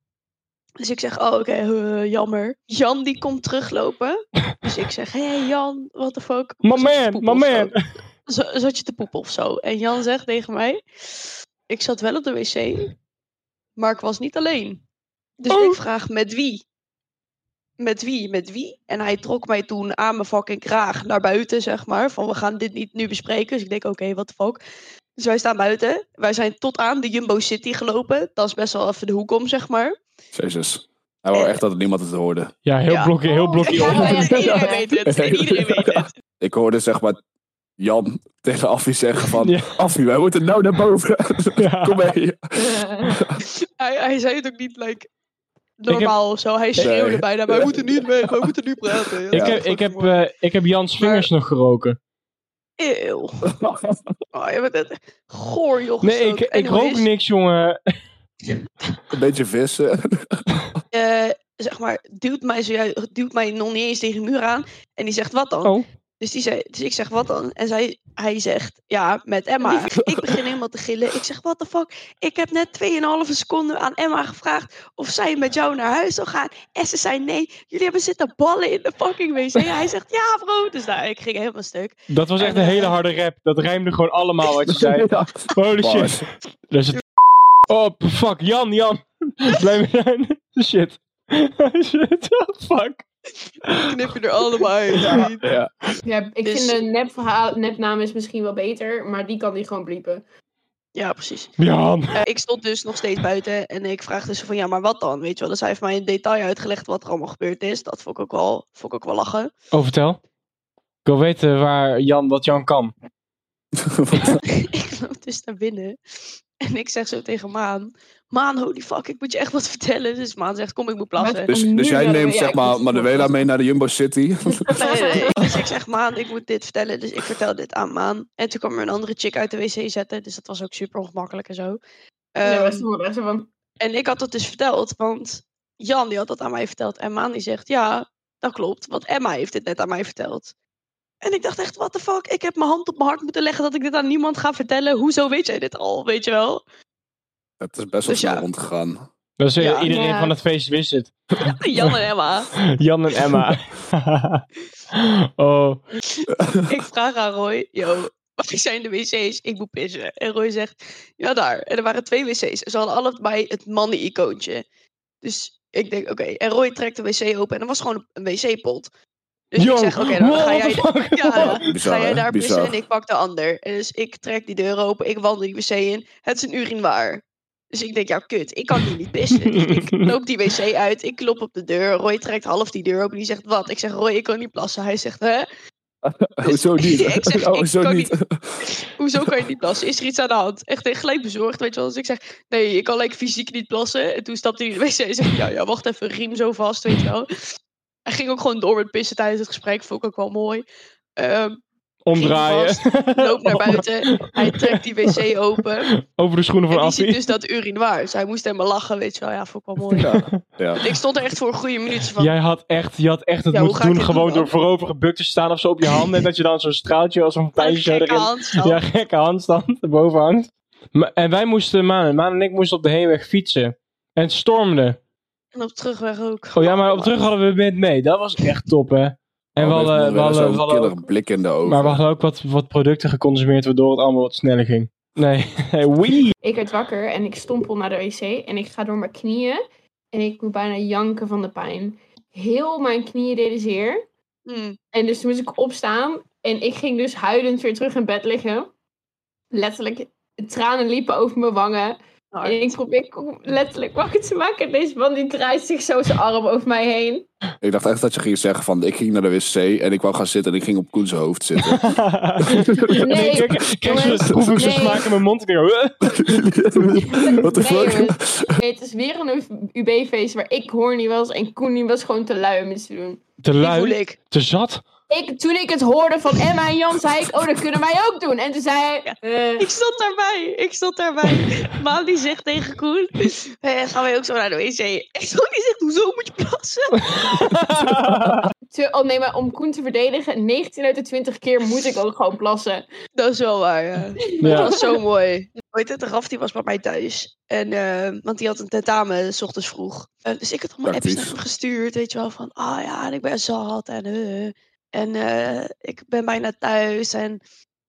Speaker 5: Dus ik zeg, oh oké, eh, jammer. Jan die komt teruglopen. Dus ik zeg, hé hey, Jan, what the fuck.
Speaker 2: My
Speaker 5: Zat je te
Speaker 2: man,
Speaker 5: poepen
Speaker 2: my
Speaker 5: of zo?
Speaker 2: man.
Speaker 5: Zo- Zat je te poepen of zo? En Jan zegt tegen mij, ik zat wel op de wc, maar ik was niet alleen. Dus
Speaker 2: Oh.
Speaker 5: ik vraag, met wie? Met wie, met wie? En hij trok mij toen aan mijn fucking kraag naar buiten, zeg maar. Van, we gaan dit niet nu bespreken. Dus ik denk, oké, wat what the fuck. Dus wij staan buiten. Wij zijn tot aan de Jumbo City gelopen. Dat is best wel even de hoek om, zeg maar.
Speaker 3: Jezus. Hij wou
Speaker 5: Eh.
Speaker 3: echt dat het niemand het hoorde.
Speaker 2: Ja, heel
Speaker 5: Ja.
Speaker 2: blokje, heel
Speaker 1: Oh,
Speaker 2: blokje.
Speaker 1: ja,
Speaker 2: om.
Speaker 1: ja, ja.
Speaker 5: iedereen weet het. Iedereen weet het.
Speaker 3: Ik hoorde zeg maar Jan tegen Affie zeggen van...
Speaker 2: Ja.
Speaker 3: Affie, wij moeten nou naar boven.
Speaker 2: Ja.
Speaker 3: Kom mee.
Speaker 5: Hij, hij zei het ook niet like, normaal of zo. Hij schreeuwde
Speaker 3: Nee.
Speaker 5: bijna, wij moeten nu weg, wij moeten nu praten. Ja,
Speaker 2: Ik heb, ik, heb, eh, ik heb Jans vingers nog geroken. eh,
Speaker 5: Eeuw. Oh, je bent echt goor, joh.
Speaker 2: Nee, ik,
Speaker 5: gestoken.
Speaker 2: ik rook
Speaker 5: Anyways,
Speaker 2: niks, jongen.
Speaker 3: Een beetje vissen.
Speaker 5: eh, zeg maar, duwt mij, zojuist, duwt mij nog niet eens tegen de muur aan. En die zegt, wat dan?
Speaker 2: Oh.
Speaker 5: Dus, die zei, dus ik zeg, wat dan? En zij, hij zegt, ja, met Emma. Ik begin helemaal te gillen. Ik zeg, what the fuck? Ik heb net 2,5 seconden aan Emma gevraagd of zij met jou naar huis zou gaan. En ze zei, nee, jullie hebben zitten ballen in de fucking wc. Hij zegt, ja bro. Dus nou, ik ging helemaal stuk.
Speaker 2: Dat was echt een hele harde rap. Dat rijmde gewoon allemaal wat je zei.
Speaker 3: Ja.
Speaker 2: Holy shit.
Speaker 3: Bars.
Speaker 2: Dus het... Oh, p- fuck. Jan, Jan. Blijf me zijn. Shit. Shit. Oh, fuck.
Speaker 5: Knip je er allemaal uit. vriend.
Speaker 3: Ja.
Speaker 1: Ja, ik
Speaker 5: Dus-
Speaker 1: vind een nep verhaal, nepnaam is misschien wel beter, maar die kan hij gewoon bliepen.
Speaker 5: Ja, precies.
Speaker 2: Jan.
Speaker 5: Eh, ik stond dus nog steeds buiten en ik vraagde ze van ja, maar wat dan? Weet je wel, dus hij heeft mij in detail uitgelegd wat er allemaal gebeurd is. Dat vond ik ook wel, vond ik ook wel lachen.
Speaker 2: Oh, vertel. Ik wil weten waar Jan, wat Jan kan.
Speaker 5: ik loop dus naar binnen en ik zeg zo tegen Maan: Maan, holy fuck, ik moet je echt wat vertellen. Dus Maan zegt: Kom, ik moet plassen.
Speaker 1: Wat?
Speaker 3: Dus,
Speaker 1: Nu
Speaker 3: dus jij
Speaker 1: wel,
Speaker 3: neemt
Speaker 1: ja,
Speaker 3: zeg
Speaker 1: ik
Speaker 3: maar
Speaker 1: moet-
Speaker 3: Manuela mee naar de Jumbo City.
Speaker 5: Nee, nee, nee. Dus ik zeg, Maan, ik moet dit vertellen. Dus ik vertel dit aan Maan. En toen kwam er een andere chick uit de wc zetten. Dus dat was ook super ongemakkelijk en zo.
Speaker 1: ja,
Speaker 5: Ehm,
Speaker 1: was toen wel echt zo van...
Speaker 5: En ik had dat dus verteld, want Jan die had dat aan mij verteld. En Maan die zegt, ja, dat klopt, want Emma heeft dit net aan mij verteld. En ik dacht echt, what the fuck? Ik heb mijn hand op mijn hart moeten leggen dat ik dit aan niemand ga vertellen. Hoezo weet jij dit al, weet je wel?
Speaker 3: Het is best wel
Speaker 5: Dus
Speaker 3: snel
Speaker 5: ja.
Speaker 3: rondgegaan.
Speaker 2: Dus eh,
Speaker 5: Ja.
Speaker 2: iedereen
Speaker 1: Ja.
Speaker 2: van het feest wist het.
Speaker 5: Jan en Emma.
Speaker 2: Jan en Emma. oh.
Speaker 5: Ik vraag aan Roy, yo, waar zijn de wc's? Ik moet pissen. En Roy zegt, ja daar. En er waren twee wc's. En ze hadden allebei het mannen-icoontje. Dus ik denk, oké. En Roy trekt de wc open en er was gewoon een wc-pot. Dus
Speaker 2: Yo,
Speaker 5: ik zeg, oké, dan
Speaker 2: what
Speaker 5: ga
Speaker 2: the
Speaker 5: jij,
Speaker 2: fuck?
Speaker 5: ja,
Speaker 3: Bizar,
Speaker 5: ga jij
Speaker 3: hè?
Speaker 5: daar
Speaker 3: Bizar.
Speaker 5: pissen en ik pak de ander. En dus ik trek die deur open, ik wandel die wc in. Het is een urinoir. Dus ik denk, ja kut, ik kan hier niet pissen. Dus ik loop die wc uit, ik klop op de deur. Roy trekt half die deur open die zegt, wat? Ik zeg, Roy, ik kan niet plassen. Hij zegt, hè?
Speaker 3: Hoezo niet? Oh,
Speaker 5: Ik zeg, ik
Speaker 3: Hoezo
Speaker 5: kan
Speaker 3: niet?
Speaker 5: Hoezo kan je niet plassen? Is er iets aan de hand? Echt eh, gelijk bezorgd, weet je wel. Dus ik zeg, nee, ik kan like, fysiek niet plassen. En toen stapte hij in de wc en zei, ja, ja, wacht even, riem zo vast, weet je wel. Hij ging ook gewoon door met pissen tijdens het gesprek, vond ik ook wel mooi. Ehm
Speaker 2: Omdraaien.
Speaker 5: loopt naar buiten, hij trekt die wc open.
Speaker 2: Over de schoenen van
Speaker 5: En die ziet
Speaker 2: Affie.
Speaker 5: dus dat urinoir. Dus hij moest helemaal lachen, weet je wel. Ja, vond ik wel mooi.
Speaker 3: Ja, ja.
Speaker 5: Ik stond er echt voor een goede minuut van,
Speaker 2: Jij had echt, je had echt het
Speaker 5: Ja, hoe
Speaker 2: moeten
Speaker 5: ga ik
Speaker 2: doen,
Speaker 5: dit
Speaker 2: gewoon
Speaker 5: doen
Speaker 2: door
Speaker 5: dan?
Speaker 2: voorover gebukt te staan of zo op je handen. En dat je dan zo'n straaltje als een
Speaker 5: "Wat een
Speaker 2: pijntje zo
Speaker 5: gekke
Speaker 2: erin.
Speaker 5: handstand."
Speaker 2: Ja, gekke handstand erboven hangt. Maar- en wij moesten, Maan, Maan en ik moesten op de heenweg fietsen. En het stormde.
Speaker 5: En op de terugweg ook.
Speaker 2: Oh ja, maar op terug hadden we wind mee. Dat was echt top, hè. En we
Speaker 3: Al
Speaker 2: hadden,
Speaker 3: heeft
Speaker 2: we
Speaker 3: Manuela
Speaker 2: hadden, we
Speaker 3: zo'n
Speaker 2: hadden ook-
Speaker 3: killer blik in de ogen.
Speaker 2: maar we hadden ook wat, wat producten geconsumeerd waardoor het allemaal wat sneller ging. Nee, wee.
Speaker 1: Ik werd wakker en ik stompel naar de wc en ik ga door mijn knieën. En ik moet bijna janken van de pijn. Heel mijn knieën deden zeer.
Speaker 5: Hmm.
Speaker 1: En dus toen moest ik opstaan. En ik ging dus huilend weer terug in bed liggen. Letterlijk, tranen liepen over mijn wangen.
Speaker 5: nou,
Speaker 1: En ik probeer Koen letterlijk wakker te maken. En deze man die draait zich zo zijn arm over mij heen.
Speaker 3: Ik dacht echt dat je ging zeggen van, ik ging naar de wc en ik wou gaan zitten en ik ging op Koens hoofd zitten.
Speaker 2: Nee, ik kreeg- kreeg zo'n
Speaker 1: jongens,
Speaker 2: proef ik zo'n
Speaker 1: nee.
Speaker 2: smaak in mijn mond. Ik denk, "Huh?"
Speaker 3: What the
Speaker 1: Nee,
Speaker 3: fuck?
Speaker 1: jongens. Nee, het is weer een UB-feest waar ik hoor niet was. En Koen die was gewoon te lui om iets te doen.
Speaker 2: te
Speaker 5: Die voel
Speaker 2: lui,
Speaker 5: ik.
Speaker 2: te zat.
Speaker 1: Ik, toen ik het hoorde van Emma en Jan, zei ik, oh, dat kunnen wij ook doen. En toen zei hij, eh,
Speaker 5: Ik stond daarbij. Ik stond daarbij. Maan die zegt tegen Koen: "Hé, Gaan wij ook zo naar de wc? En Koen die zegt: Hoezo moet je plassen?
Speaker 1: te- oh nee, maar om Koen te verdedigen, 19 uit de 20 keer moet ik ook gewoon plassen.
Speaker 5: Dat is wel waar. Ja. Dat
Speaker 2: Ja.
Speaker 5: was zo mooi. Weet het, Raf die was bij mij thuis. En, eh, want die had een tentamen s ochtends vroeg. Eh, dus ik had allemaal apps naar
Speaker 3: Praktisch.
Speaker 5: hem gestuurd. Weet je wel van: Ah ja, en ik ben zat. En, eh, en eh, ik ben bijna thuis. En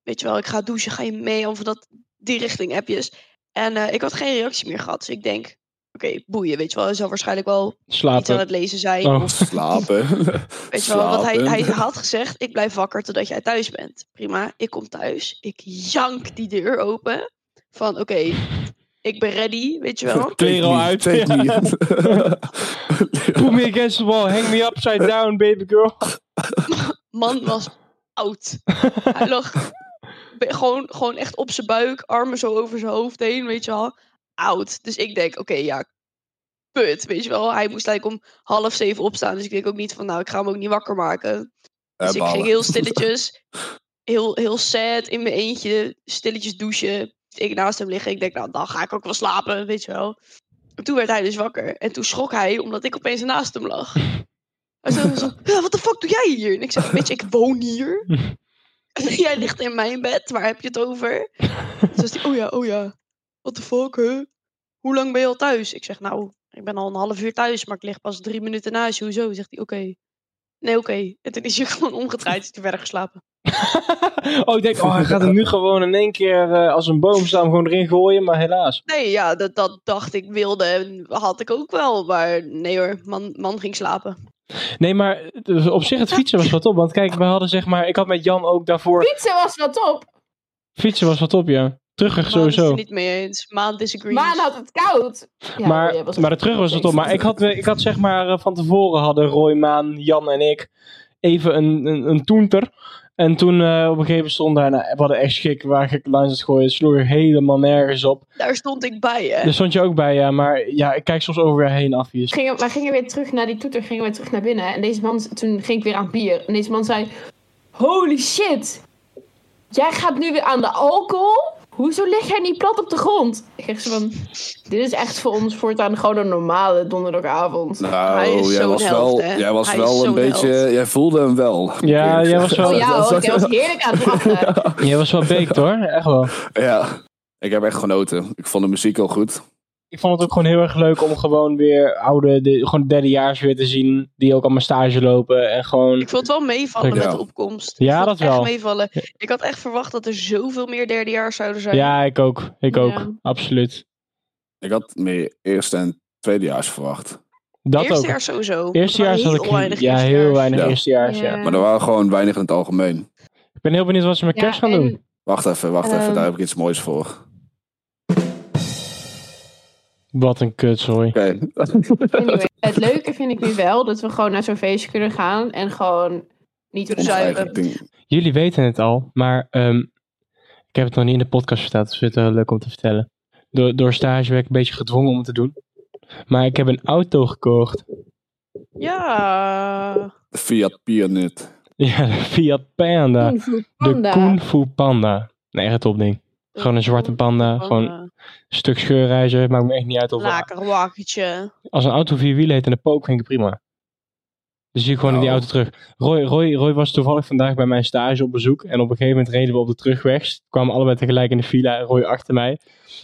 Speaker 5: weet je wel, ik ga douchen. Ga je mee? Of dat, die richting appjes. En eh, ik had geen reactie meer gehad. Dus ik denk: Oké, boeien. Weet je wel, hij zal waarschijnlijk wel iets aan
Speaker 2: Slapen.
Speaker 5: het lezen zijn.
Speaker 2: Oh.
Speaker 5: Of,
Speaker 3: Slapen.
Speaker 5: weet je wel, want hij, hij
Speaker 3: Slapen.
Speaker 5: had gezegd, ik blijf wakker totdat jij thuis bent. Prima, ik kom thuis. Ik jank die deur open. Van, oké, ik ben ready, weet je wel.
Speaker 2: Kleren al uit.
Speaker 3: Take me.
Speaker 2: Ja. Put me against the wall, hang me upside down, baby girl.
Speaker 5: Man was oud. Hij lag be- gewoon, gewoon echt op zijn buik, armen zo over zijn hoofd heen, weet je wel. Oud. Dus ik denk, oké, ja, put, weet je wel. Hij moest eigenlijk om half zeven opstaan. Dus ik denk ook niet van, nou, ik ga hem ook niet wakker maken.
Speaker 3: Eh,
Speaker 5: Dus ik ging heel stilletjes, heel, heel sad in mijn eentje, stilletjes douchen. Ik naast hem liggen. Ik denk, nou, dan ga ik ook wel slapen, weet je wel. En toen werd hij dus wakker. En toen schrok hij, omdat ik opeens naast hem lag. Hij zei zo, ja, wat de fuck doe jij hier? En ik zeg, bitch, ik woon hier. jij ligt in mijn bed, waar heb je het over? Toen was hij, oh ja, oh ja. What the fuck, hè? Hoe lang ben je al thuis? Ik zeg, nou, ik ben al een half uur thuis, maar ik lig pas drie minuten naast je. Hoezo? Zegt hij, oké. Nee, oké. En toen is hij gewoon omgedraaid en toen verder geslapen.
Speaker 2: Oh, ik denk, oh, hij gaat hem nu gewoon in één keer eh, als een boom staan, gewoon erin gooien, maar helaas.
Speaker 5: Nee, ja, dat, dat dacht ik wilde en had ik ook wel. Maar nee hoor, man, man ging slapen.
Speaker 2: Nee, maar dus op zich het fietsen was wat op. Want kijk, we hadden zeg maar, ik had met Jan ook daarvoor,
Speaker 1: Pizza was wel top.
Speaker 2: fietsen was wat op, ja. Terug
Speaker 5: Maan is het
Speaker 2: sowieso.
Speaker 5: er niet mee eens. Maan disagrees.
Speaker 1: Maan had het koud. Ja, oh,
Speaker 2: maar,
Speaker 1: jij was-
Speaker 2: maar de terug was het op. Maar ik had, ik had zeg maar eh, van tevoren hadden Roy, Maan, Jan en ik even een, een, een toenter. En toen eh, op een gegeven moment stond daar, nou, we hadden echt schik waar ik langs het gooien. Het sloeg er helemaal nergens op.
Speaker 5: Daar stond ik bij, hè.
Speaker 2: Daar stond je ook bij, ja. Maar ja, ik kijk soms over weer heen af. hier.
Speaker 1: gingen, wij gingen weer terug naar die toeter, gingen we terug naar binnen. En deze man, toen ging ik weer aan bier. En deze man zei: Holy shit, jij gaat nu weer aan de alcohol? hoezo lig jij niet plat op de grond? Ik zeg ze van, dit is echt voor ons voortaan gewoon een normale donderdagavond.
Speaker 5: Hij
Speaker 3: Nou,
Speaker 5: is
Speaker 3: jij
Speaker 5: zo'n
Speaker 3: was,
Speaker 5: held,
Speaker 3: wel,
Speaker 5: hè?
Speaker 3: jij was
Speaker 5: Hij is
Speaker 3: wel een
Speaker 5: zo'n
Speaker 3: beetje.
Speaker 5: held.
Speaker 3: Jij voelde hem wel.
Speaker 2: Ja, jij was wel-
Speaker 1: Oh ja, hoor,
Speaker 3: Dat
Speaker 1: ik was heerlijk aan het lachen.
Speaker 2: Jij was wel beekt hoor, echt wel.
Speaker 3: Ja, ik heb echt genoten. Ik vond de muziek al goed.
Speaker 2: Ik vond het ook gewoon heel erg leuk om gewoon weer oude, de, gewoon derdejaars weer te zien. Die ook allemaal stage lopen en gewoon...
Speaker 5: Ik vond het wel meevallen
Speaker 2: Zeker.
Speaker 5: met
Speaker 3: Ja.
Speaker 5: de opkomst.
Speaker 2: Ja,
Speaker 5: Ik vond
Speaker 2: dat
Speaker 5: het echt
Speaker 2: wel.
Speaker 5: meevallen. Ik had echt verwacht dat er zoveel meer derdejaars zouden zijn.
Speaker 2: Ja, ik ook. Ik ook.
Speaker 1: Ja.
Speaker 2: Absoluut.
Speaker 3: Ik had meer eerste en tweedejaars verwacht.
Speaker 2: Dat
Speaker 5: Eerste
Speaker 2: ook.
Speaker 5: jaar sowieso.
Speaker 2: Eerstejaars had ik...
Speaker 5: weinig
Speaker 2: Ja, heel
Speaker 5: eerstejaars.
Speaker 2: weinig
Speaker 3: Ja.
Speaker 2: eerstejaars, ja.
Speaker 1: Ja.
Speaker 3: Maar er waren gewoon weinig in het algemeen.
Speaker 2: Ik ben heel benieuwd wat ze met kerst gaan
Speaker 1: en-
Speaker 2: doen.
Speaker 3: Wacht even, wacht
Speaker 1: Ehm.
Speaker 3: even. Daar heb ik iets moois voor. Oké.
Speaker 2: Wat een kut, sorry.
Speaker 1: Anyway, het leuke vind ik nu wel dat we gewoon naar zo'n feestje kunnen gaan en gewoon niet op
Speaker 5: Om-
Speaker 3: Ongeëigend ding.
Speaker 2: Jullie weten het al, maar ehm, ik heb het nog niet in de podcast verteld. Dus ik vind het wel leuk om te vertellen. Door, door stage werd ik een beetje gedwongen om het te doen. Maar ik heb een auto gekocht.
Speaker 5: Ja.
Speaker 3: Fiat Pioneer.
Speaker 2: Ja, de Fiat Panda. De Kung Fu Panda. Nee, echt een topding. Gewoon een zwarte panda. Gewoon een stuk scheurreizen. Maakt me echt niet uit of...
Speaker 5: Laker wagentje.
Speaker 2: Als een auto vier wielen heeft en een pook, vind ik het prima. Dan zie ik gewoon in die
Speaker 3: Oh.
Speaker 2: auto terug. Roy, Roy, Roy was toevallig vandaag bij mijn stage op bezoek. En op een gegeven moment reden we op de terugweg. Ze kwamen allebei tegelijk in de file en Roy achter mij.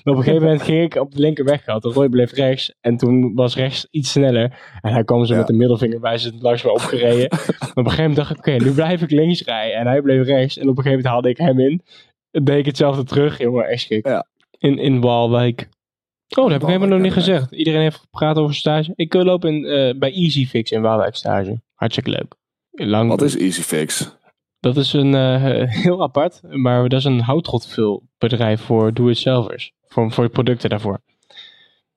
Speaker 2: En op een gegeven moment ging ik op de linkerweg gehad. En Roy bleef rechts. En toen was rechts iets sneller. En hij kwam zo
Speaker 3: Ja.
Speaker 2: met de middelvinger bij zijn langs me opgereden. en op een gegeven moment dacht ik, oké, nu blijf ik links rijden. En hij bleef rechts. En op een gegeven moment haalde ik hem in. En deed ik hetzelfde terug. Jongen, echt schrik.
Speaker 3: Ja.
Speaker 2: In, in Waalwijk. Oh, dat heb ik helemaal nog niet gezegd. Iedereen heeft gepraat over stage. Ik eh, loop in, eh, bij Easyfix in Waalwijk stage. Hartstikke leuk. Lang,
Speaker 3: Wat is Easy Fix?
Speaker 2: Dat is een, eh, heel apart, maar dat is een houtrotveelbedrijf voor do-it-zelfers. Voor, voor producten daarvoor.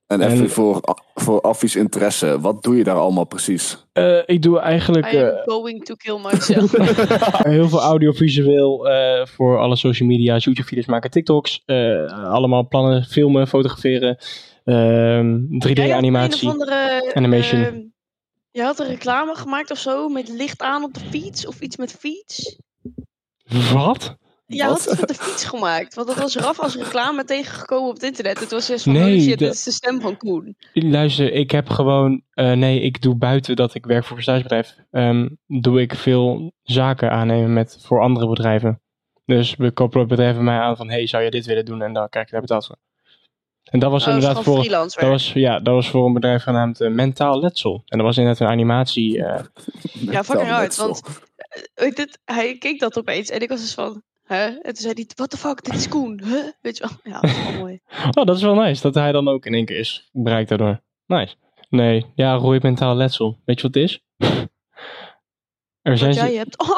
Speaker 3: En
Speaker 2: En-
Speaker 3: even voor, voor Affies interesse. Wat doe je daar allemaal precies?
Speaker 2: Eh, ik doe
Speaker 5: I
Speaker 3: Ah,
Speaker 2: eigenlijk eh,
Speaker 5: am going to kill myself.
Speaker 2: heel veel audiovisueel eh, voor alle social media's, YouTube-video's maken, TikToks. eh, allemaal plannen, filmen, fotograferen, ehm,
Speaker 5: Jij had Een
Speaker 2: 3D-animatie.
Speaker 5: of andere,
Speaker 2: animation.
Speaker 5: ehm, je had een reclame gemaakt of zo met licht aan op de fiets of iets met fiets.
Speaker 2: Wat?
Speaker 5: Je
Speaker 3: Wat?
Speaker 5: had het met de fiets gemaakt, want dat was Raf als reclame tegengekomen op het internet. Het was dus van,
Speaker 2: Nee,
Speaker 5: holy shit,
Speaker 2: dat-
Speaker 5: dit is de stem van Koen. Oh,
Speaker 2: Luister, ik heb gewoon. eh, nee, ik doe buiten dat ik werk voor een stagebedrijf. ehm, doe ik veel zaken aannemen met, voor andere bedrijven. Dus we koppelen bedrijven mij aan van: hey, zou je dit willen doen? En dan krijg je daar betaald voor. En dat was
Speaker 5: Oh, dat is
Speaker 2: inderdaad
Speaker 5: gewoon
Speaker 2: voor.
Speaker 5: freelance
Speaker 2: Dat
Speaker 5: werk.
Speaker 2: was, ja, dat was voor een bedrijf genaamd eh, Mentaal Letsel. En dat was inderdaad een animatie. eh,
Speaker 5: Ja, fucking
Speaker 3: Dan
Speaker 5: hard,
Speaker 3: net zo.
Speaker 5: want- Weet Oh, dit, hij keek dat opeens en ik was dus van, hè? En toen zei hij, what the fuck, dit is Koen, hè? Weet je wel, ja, dat is wel mooi.
Speaker 2: Oh, dat is wel nice. Dat hij dan ook in één keer is bereikt daardoor. Nice. Nee, ja, roei mentaal letsel. Weet je wat het is? er zijn
Speaker 5: Wat
Speaker 2: ze-
Speaker 5: jij hebt, oh,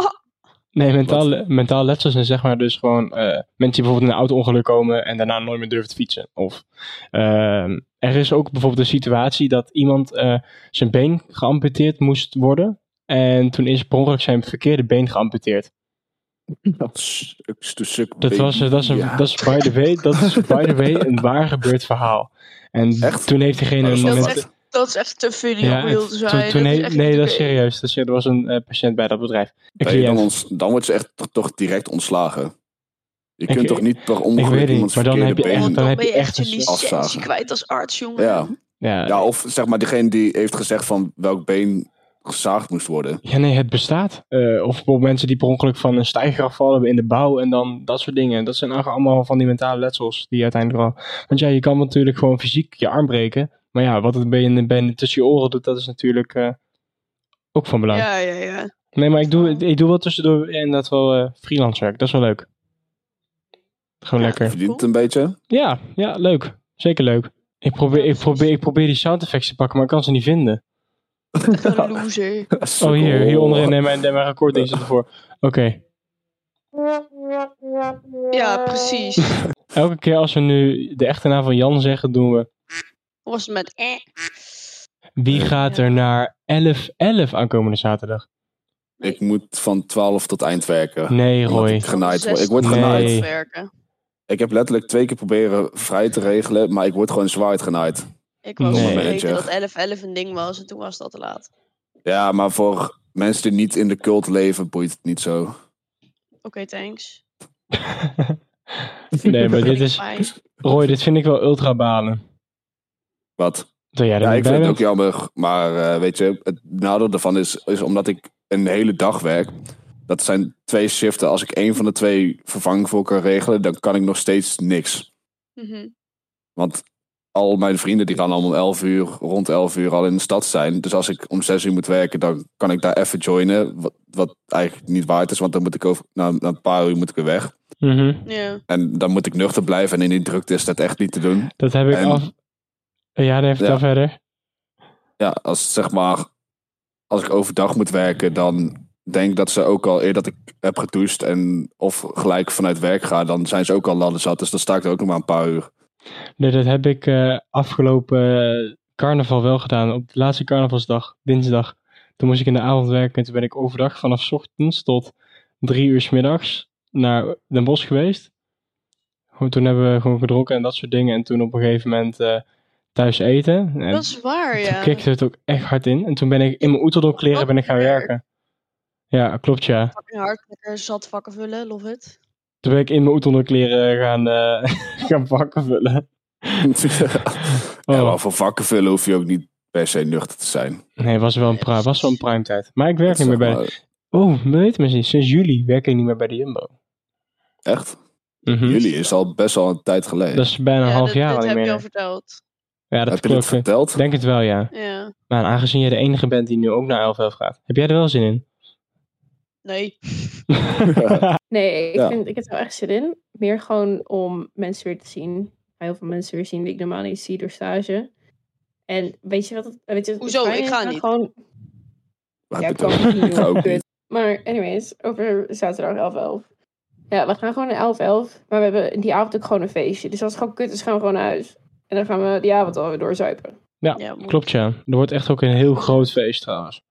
Speaker 2: Nee, mentaal, mentaal letsel zijn zeg maar dus gewoon eh, mensen die bijvoorbeeld in een auto-ongeluk komen en daarna nooit meer durven te fietsen. Of ehm, er is ook bijvoorbeeld een situatie dat iemand eh, zijn been geamputeerd moest worden. En toen is per ongeluk zijn verkeerde been geamputeerd.
Speaker 3: Dat is een stuk
Speaker 2: Dat, was, eh, dat, is, een,
Speaker 3: Ja.
Speaker 2: dat, is by the way, dat is by the way een waar gebeurd verhaal. En
Speaker 3: Echt? Oh,
Speaker 2: toen heeft diegene
Speaker 3: Dat is
Speaker 2: een
Speaker 5: wel
Speaker 2: moment...
Speaker 5: echt dat is echt te funny om
Speaker 2: en
Speaker 5: real te
Speaker 2: toen-
Speaker 5: zijn.
Speaker 2: toen
Speaker 5: dat
Speaker 2: he-
Speaker 5: is echt
Speaker 2: nee,
Speaker 5: niet
Speaker 2: dat is
Speaker 5: oké.
Speaker 2: serieus. Dat is- er was een eh, patiënt bij dat bedrijf. Een
Speaker 3: Nee, dan,
Speaker 2: cliënt.
Speaker 3: ons, dan wordt ze echt toch, toch direct ontslagen. Je
Speaker 2: Ik-
Speaker 3: kunt toch niet per
Speaker 2: ik weet
Speaker 3: ongeluk
Speaker 2: niet,
Speaker 3: iemands
Speaker 2: maar dan
Speaker 3: verkeerde
Speaker 2: heb je echt-
Speaker 3: been...
Speaker 2: dan
Speaker 5: Oh, Dan
Speaker 2: heb
Speaker 5: ben je echt je
Speaker 2: een soort-
Speaker 5: licentie
Speaker 3: afzagen.
Speaker 5: kwijt als arts, jongen.
Speaker 3: Ja.
Speaker 2: Ja,
Speaker 3: ja, of zeg maar degene die heeft gezegd van welk been gezaagd moest worden.
Speaker 2: Ja, nee, het bestaat. Eh, of bijvoorbeeld mensen die per ongeluk van een stijger afvallen in de bouw en dan dat soort dingen. Dat zijn eigenlijk allemaal van die mentale letsels die uiteindelijk wel... Want ja, je kan natuurlijk gewoon fysiek je arm breken. Maar ja, wat het been, been tussen je oren doet, dat is natuurlijk eh, ook van belang.
Speaker 5: Ja, ja, ja.
Speaker 2: Nee, maar ik doe, ik doe wel tussendoor inderdaad wel eh, freelance werk. Dat is wel leuk. Gewoon
Speaker 5: Ja.
Speaker 2: lekker.
Speaker 3: Verdient het een beetje?
Speaker 2: Ja, ja, leuk. Zeker leuk. Ik probeer, ik, probeer, ik probeer die sound effects te pakken, maar ik kan ze niet vinden.
Speaker 5: Echt een loser.
Speaker 2: Oh, hier, hier onderin. Neem mijn, neem mijn recording zit ervoor. Oké.
Speaker 5: Ja, precies. Hoe
Speaker 2: Elke keer als we nu de echte naam van Jan zeggen, doen we...
Speaker 5: was het met eh?
Speaker 2: Wie gaat er naar 11-11 aankomende zaterdag?
Speaker 3: Ik moet van 12 tot eind werken.
Speaker 2: Nee,
Speaker 3: Omdat
Speaker 2: Roy.
Speaker 3: Ik, genaaid word. ik word
Speaker 2: Nee.
Speaker 3: genaaid.
Speaker 2: Nee.
Speaker 5: Werken.
Speaker 3: Ik heb letterlijk twee keer proberen vrij te regelen, maar ik word gewoon zwaar genaaid.
Speaker 5: Ik was
Speaker 2: Nee.
Speaker 5: vergeten dat 11-11 een ding was en toen was dat te laat.
Speaker 3: Ja, maar voor mensen die niet in de cult leven, boeit het niet zo.
Speaker 5: Oké, thanks. vind
Speaker 2: Nee,
Speaker 5: ik
Speaker 2: maar
Speaker 5: ook
Speaker 2: dit
Speaker 5: niet
Speaker 2: is-
Speaker 5: fijn.
Speaker 2: Roy, dit vind ik wel ultra balen.
Speaker 3: Wat?
Speaker 2: Dat jij er
Speaker 3: Ja,
Speaker 2: niet
Speaker 3: ik
Speaker 2: bij
Speaker 3: vind het ook
Speaker 2: bent.
Speaker 3: jammer. Maar eh, weet je, het nadeel daarvan is, is omdat ik een hele dag werk. Dat zijn twee shiften. Als ik één van de twee vervang voor kan regelen, dan kan ik nog steeds niks.
Speaker 5: Mhm.
Speaker 3: Want al mijn vrienden die gaan allemaal 11 uur, rond 11 uur al in de stad zijn. Dus als ik om 6 uur moet werken, dan kan ik daar even joinen. Wat, wat eigenlijk niet waard is, want dan moet ik over, na, na een paar uur moet ik weer weg.
Speaker 2: Mhm.
Speaker 5: Ja.
Speaker 3: En dan moet ik nuchter blijven. En in die drukte is dat echt niet te doen.
Speaker 2: Dat heb ik
Speaker 3: En-
Speaker 2: af... Ja, dan even
Speaker 3: Ja.
Speaker 2: dan verder.
Speaker 3: ja, als zeg maar, als ik overdag moet werken, dan denk ik dat ze ook al eer dat ik heb getoucht en of gelijk vanuit werk ga, dan zijn ze ook al ladder zat. Dus dan sta ik er ook nog maar een paar uur.
Speaker 2: Nee, dat heb ik eh, afgelopen eh, carnaval wel gedaan. Op de laatste carnavalsdag, dinsdag. Toen moest ik in de avond werken en toen ben ik overdag vanaf 's ochtends tot drie uur 's middags naar Den Bosch geweest. Gewoon- Toen hebben we gewoon gedronken en dat soort dingen. En toen op een gegeven moment eh, thuis eten. En
Speaker 5: Dat is waar, ja. Oh,
Speaker 2: Toen kikte het ook echt hard in. En toen ben ik in mijn Oeteldonk kleren
Speaker 5: Wat
Speaker 2: ben ik gaan
Speaker 5: erg.
Speaker 2: werken. Ja, klopt ja.
Speaker 5: Fucking hard, lekker zat vakken vullen, love it.
Speaker 2: Toen ben ik in mijn Oeteldonk kleren gaan, eh, gaan vakken vullen.
Speaker 3: Ja,
Speaker 2: Oh.
Speaker 3: maar voor vakken vullen hoef je ook niet per se nuchter te zijn.
Speaker 2: Nee, was wel een, pri- was wel een prime tijd. Maar ik werk
Speaker 3: Dat is
Speaker 2: niet meer
Speaker 3: zeg
Speaker 2: bij...
Speaker 3: maar-
Speaker 2: Oh, me weet misschien. Sinds juli werk ik niet meer bij de Jumbo.
Speaker 3: Echt?
Speaker 2: Mhm.
Speaker 3: Jullie is al best wel een tijd geleden.
Speaker 2: Dat is bijna een
Speaker 5: ja,
Speaker 2: half
Speaker 5: dit-
Speaker 2: jaar
Speaker 5: dit
Speaker 2: al niet
Speaker 5: heb je al
Speaker 2: meer.
Speaker 5: verteld.
Speaker 2: Ja, dat
Speaker 3: heb je dit
Speaker 2: klopt. hè.
Speaker 3: verteld?
Speaker 2: Ik denk het wel, ja.
Speaker 5: Ja.
Speaker 2: Maar aangezien jij de enige bent die nu ook naar 11 gaat, heb jij er wel zin in?
Speaker 5: Nee.
Speaker 1: Nee, ik,
Speaker 3: Ja.
Speaker 1: vind, ik heb er wel echt zin in. Meer gewoon om mensen weer te zien. Ik ga Heel veel mensen weer zien die ik normaal niet zie door stage. En weet je wat? het- Weet je, wat het
Speaker 5: Hoezo?
Speaker 1: fijn
Speaker 5: Ik
Speaker 1: is?
Speaker 5: ga
Speaker 1: Nou,
Speaker 5: niet.
Speaker 1: Gewoon,
Speaker 3: Maar
Speaker 1: ja,
Speaker 3: heb
Speaker 1: ik
Speaker 3: je
Speaker 1: kan
Speaker 3: het
Speaker 1: het niet
Speaker 3: Ik ga
Speaker 1: doen.
Speaker 3: ook
Speaker 1: kut.
Speaker 3: niet.
Speaker 1: Maar anyways, over zaterdag 11-11. Ja, we gaan gewoon naar 11-11. Maar we hebben die avond ook gewoon een feestje. Dus als het gewoon kut is, gaan we gewoon naar huis. En dan gaan we die avond alweer doorzuipen.
Speaker 2: Ja,
Speaker 5: Ja, moet.
Speaker 2: klopt ja. Er wordt echt ook een heel groot feest trouwens.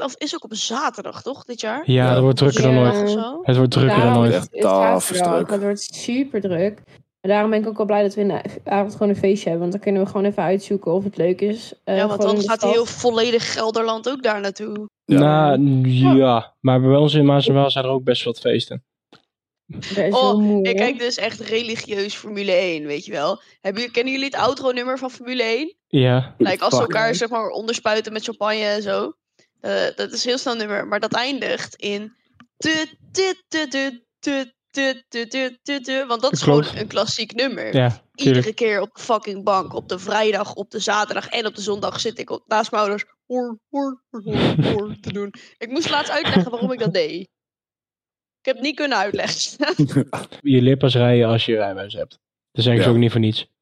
Speaker 5: 11-11 is ook op een zaterdag, toch? Dit jaar?
Speaker 2: Ja,
Speaker 3: Ja.
Speaker 2: dat wordt drukker dan
Speaker 1: Ja.
Speaker 2: ooit.
Speaker 5: Of zo?
Speaker 2: Het wordt drukker dan
Speaker 1: Daarom
Speaker 2: ooit.
Speaker 1: is- is
Speaker 3: Echt
Speaker 1: het zaterdag,
Speaker 3: tafelstruk.
Speaker 1: want Het wordt super druk. En daarom ben ik ook wel blij dat we in de avond gewoon een feestje hebben. Want dan kunnen we gewoon even uitzoeken of het leuk is. eh,
Speaker 5: ja,
Speaker 1: gewoon
Speaker 5: want
Speaker 1: in
Speaker 5: dan
Speaker 1: de
Speaker 5: gaat
Speaker 1: stad.
Speaker 5: heel volledig Gelderland ook daar naartoe.
Speaker 3: Ja.
Speaker 2: Nou, ja. Maar bij ons in Maas en Waal zijn er ook best wat feesten.
Speaker 1: Dat is
Speaker 5: Oh,
Speaker 1: heel moe,
Speaker 5: Ik
Speaker 1: hoor.
Speaker 5: kijk dus echt religieus Formule 1, weet je wel. Hebben, jullie- kennen jullie het outro-nummer van Formule 1?
Speaker 2: Ja.
Speaker 5: Like, als ze
Speaker 2: Fuck.
Speaker 5: elkaar zeg maar onderspuiten met champagne en zo. Eh, dat is een heel snel nummer, maar dat eindigt in... Tu, tu, tu, tu, tu, tu, tu, tu, tu, tu, want dat is
Speaker 2: Klopt.
Speaker 5: gewoon een klassiek nummer.
Speaker 2: Ja, tuurlijk.
Speaker 5: Iedere keer op de fucking bank. Op de vrijdag, op de zaterdag en op de zondag zit ik op, naast mijn ouders. Hoor, hoor, hoor, hoor, hoor te doen. Ik moest laatst uitleggen waarom ik dat deed. Ik heb het niet kunnen uitleggen.
Speaker 2: Je lippers rijden als je rijbewijs hebt. Dat zeggen ze
Speaker 3: Ja.
Speaker 2: ook niet voor niets.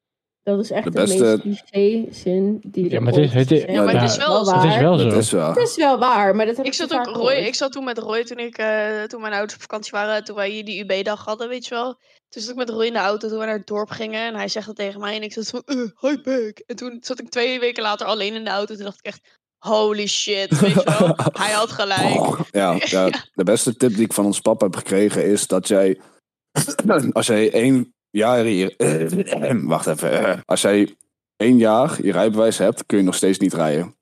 Speaker 1: Dat is echt de,
Speaker 3: De beste-
Speaker 1: meest cliché-zin die
Speaker 2: Ja,
Speaker 1: er
Speaker 2: maar het is-
Speaker 1: ooit
Speaker 2: het is-
Speaker 1: gezegd
Speaker 5: Ja, maar het
Speaker 1: is.
Speaker 5: is wel zo.
Speaker 1: waar.
Speaker 2: Het is wel zo.
Speaker 3: Dat is wel.
Speaker 1: Het is wel waar, maar dat heb ik
Speaker 5: ik zat
Speaker 1: zo
Speaker 5: ook
Speaker 1: vaak
Speaker 5: Roy,
Speaker 1: gehoord.
Speaker 5: ik zat toen met Roy toen, ik, eh, toen mijn ouders op vakantie waren. Toen wij hier die UB-dag hadden, weet je wel. Toen zat ik met Roy in de auto toen we naar het dorp gingen. En hij zegt dat tegen mij. En ik zat zo, eh, hi back. En toen zat ik twee weken later alleen in de auto. Toen dacht ik echt, holy shit, weet je wel. Hij had
Speaker 1: Oh.
Speaker 5: gelijk.
Speaker 3: Oh, Ja, ja, de beste tip die ik van ons papa heb gekregen is dat jij, als jij één jaar hier, wacht even, als jij één jaar je rijbewijs hebt, kun je nog steeds niet rijden.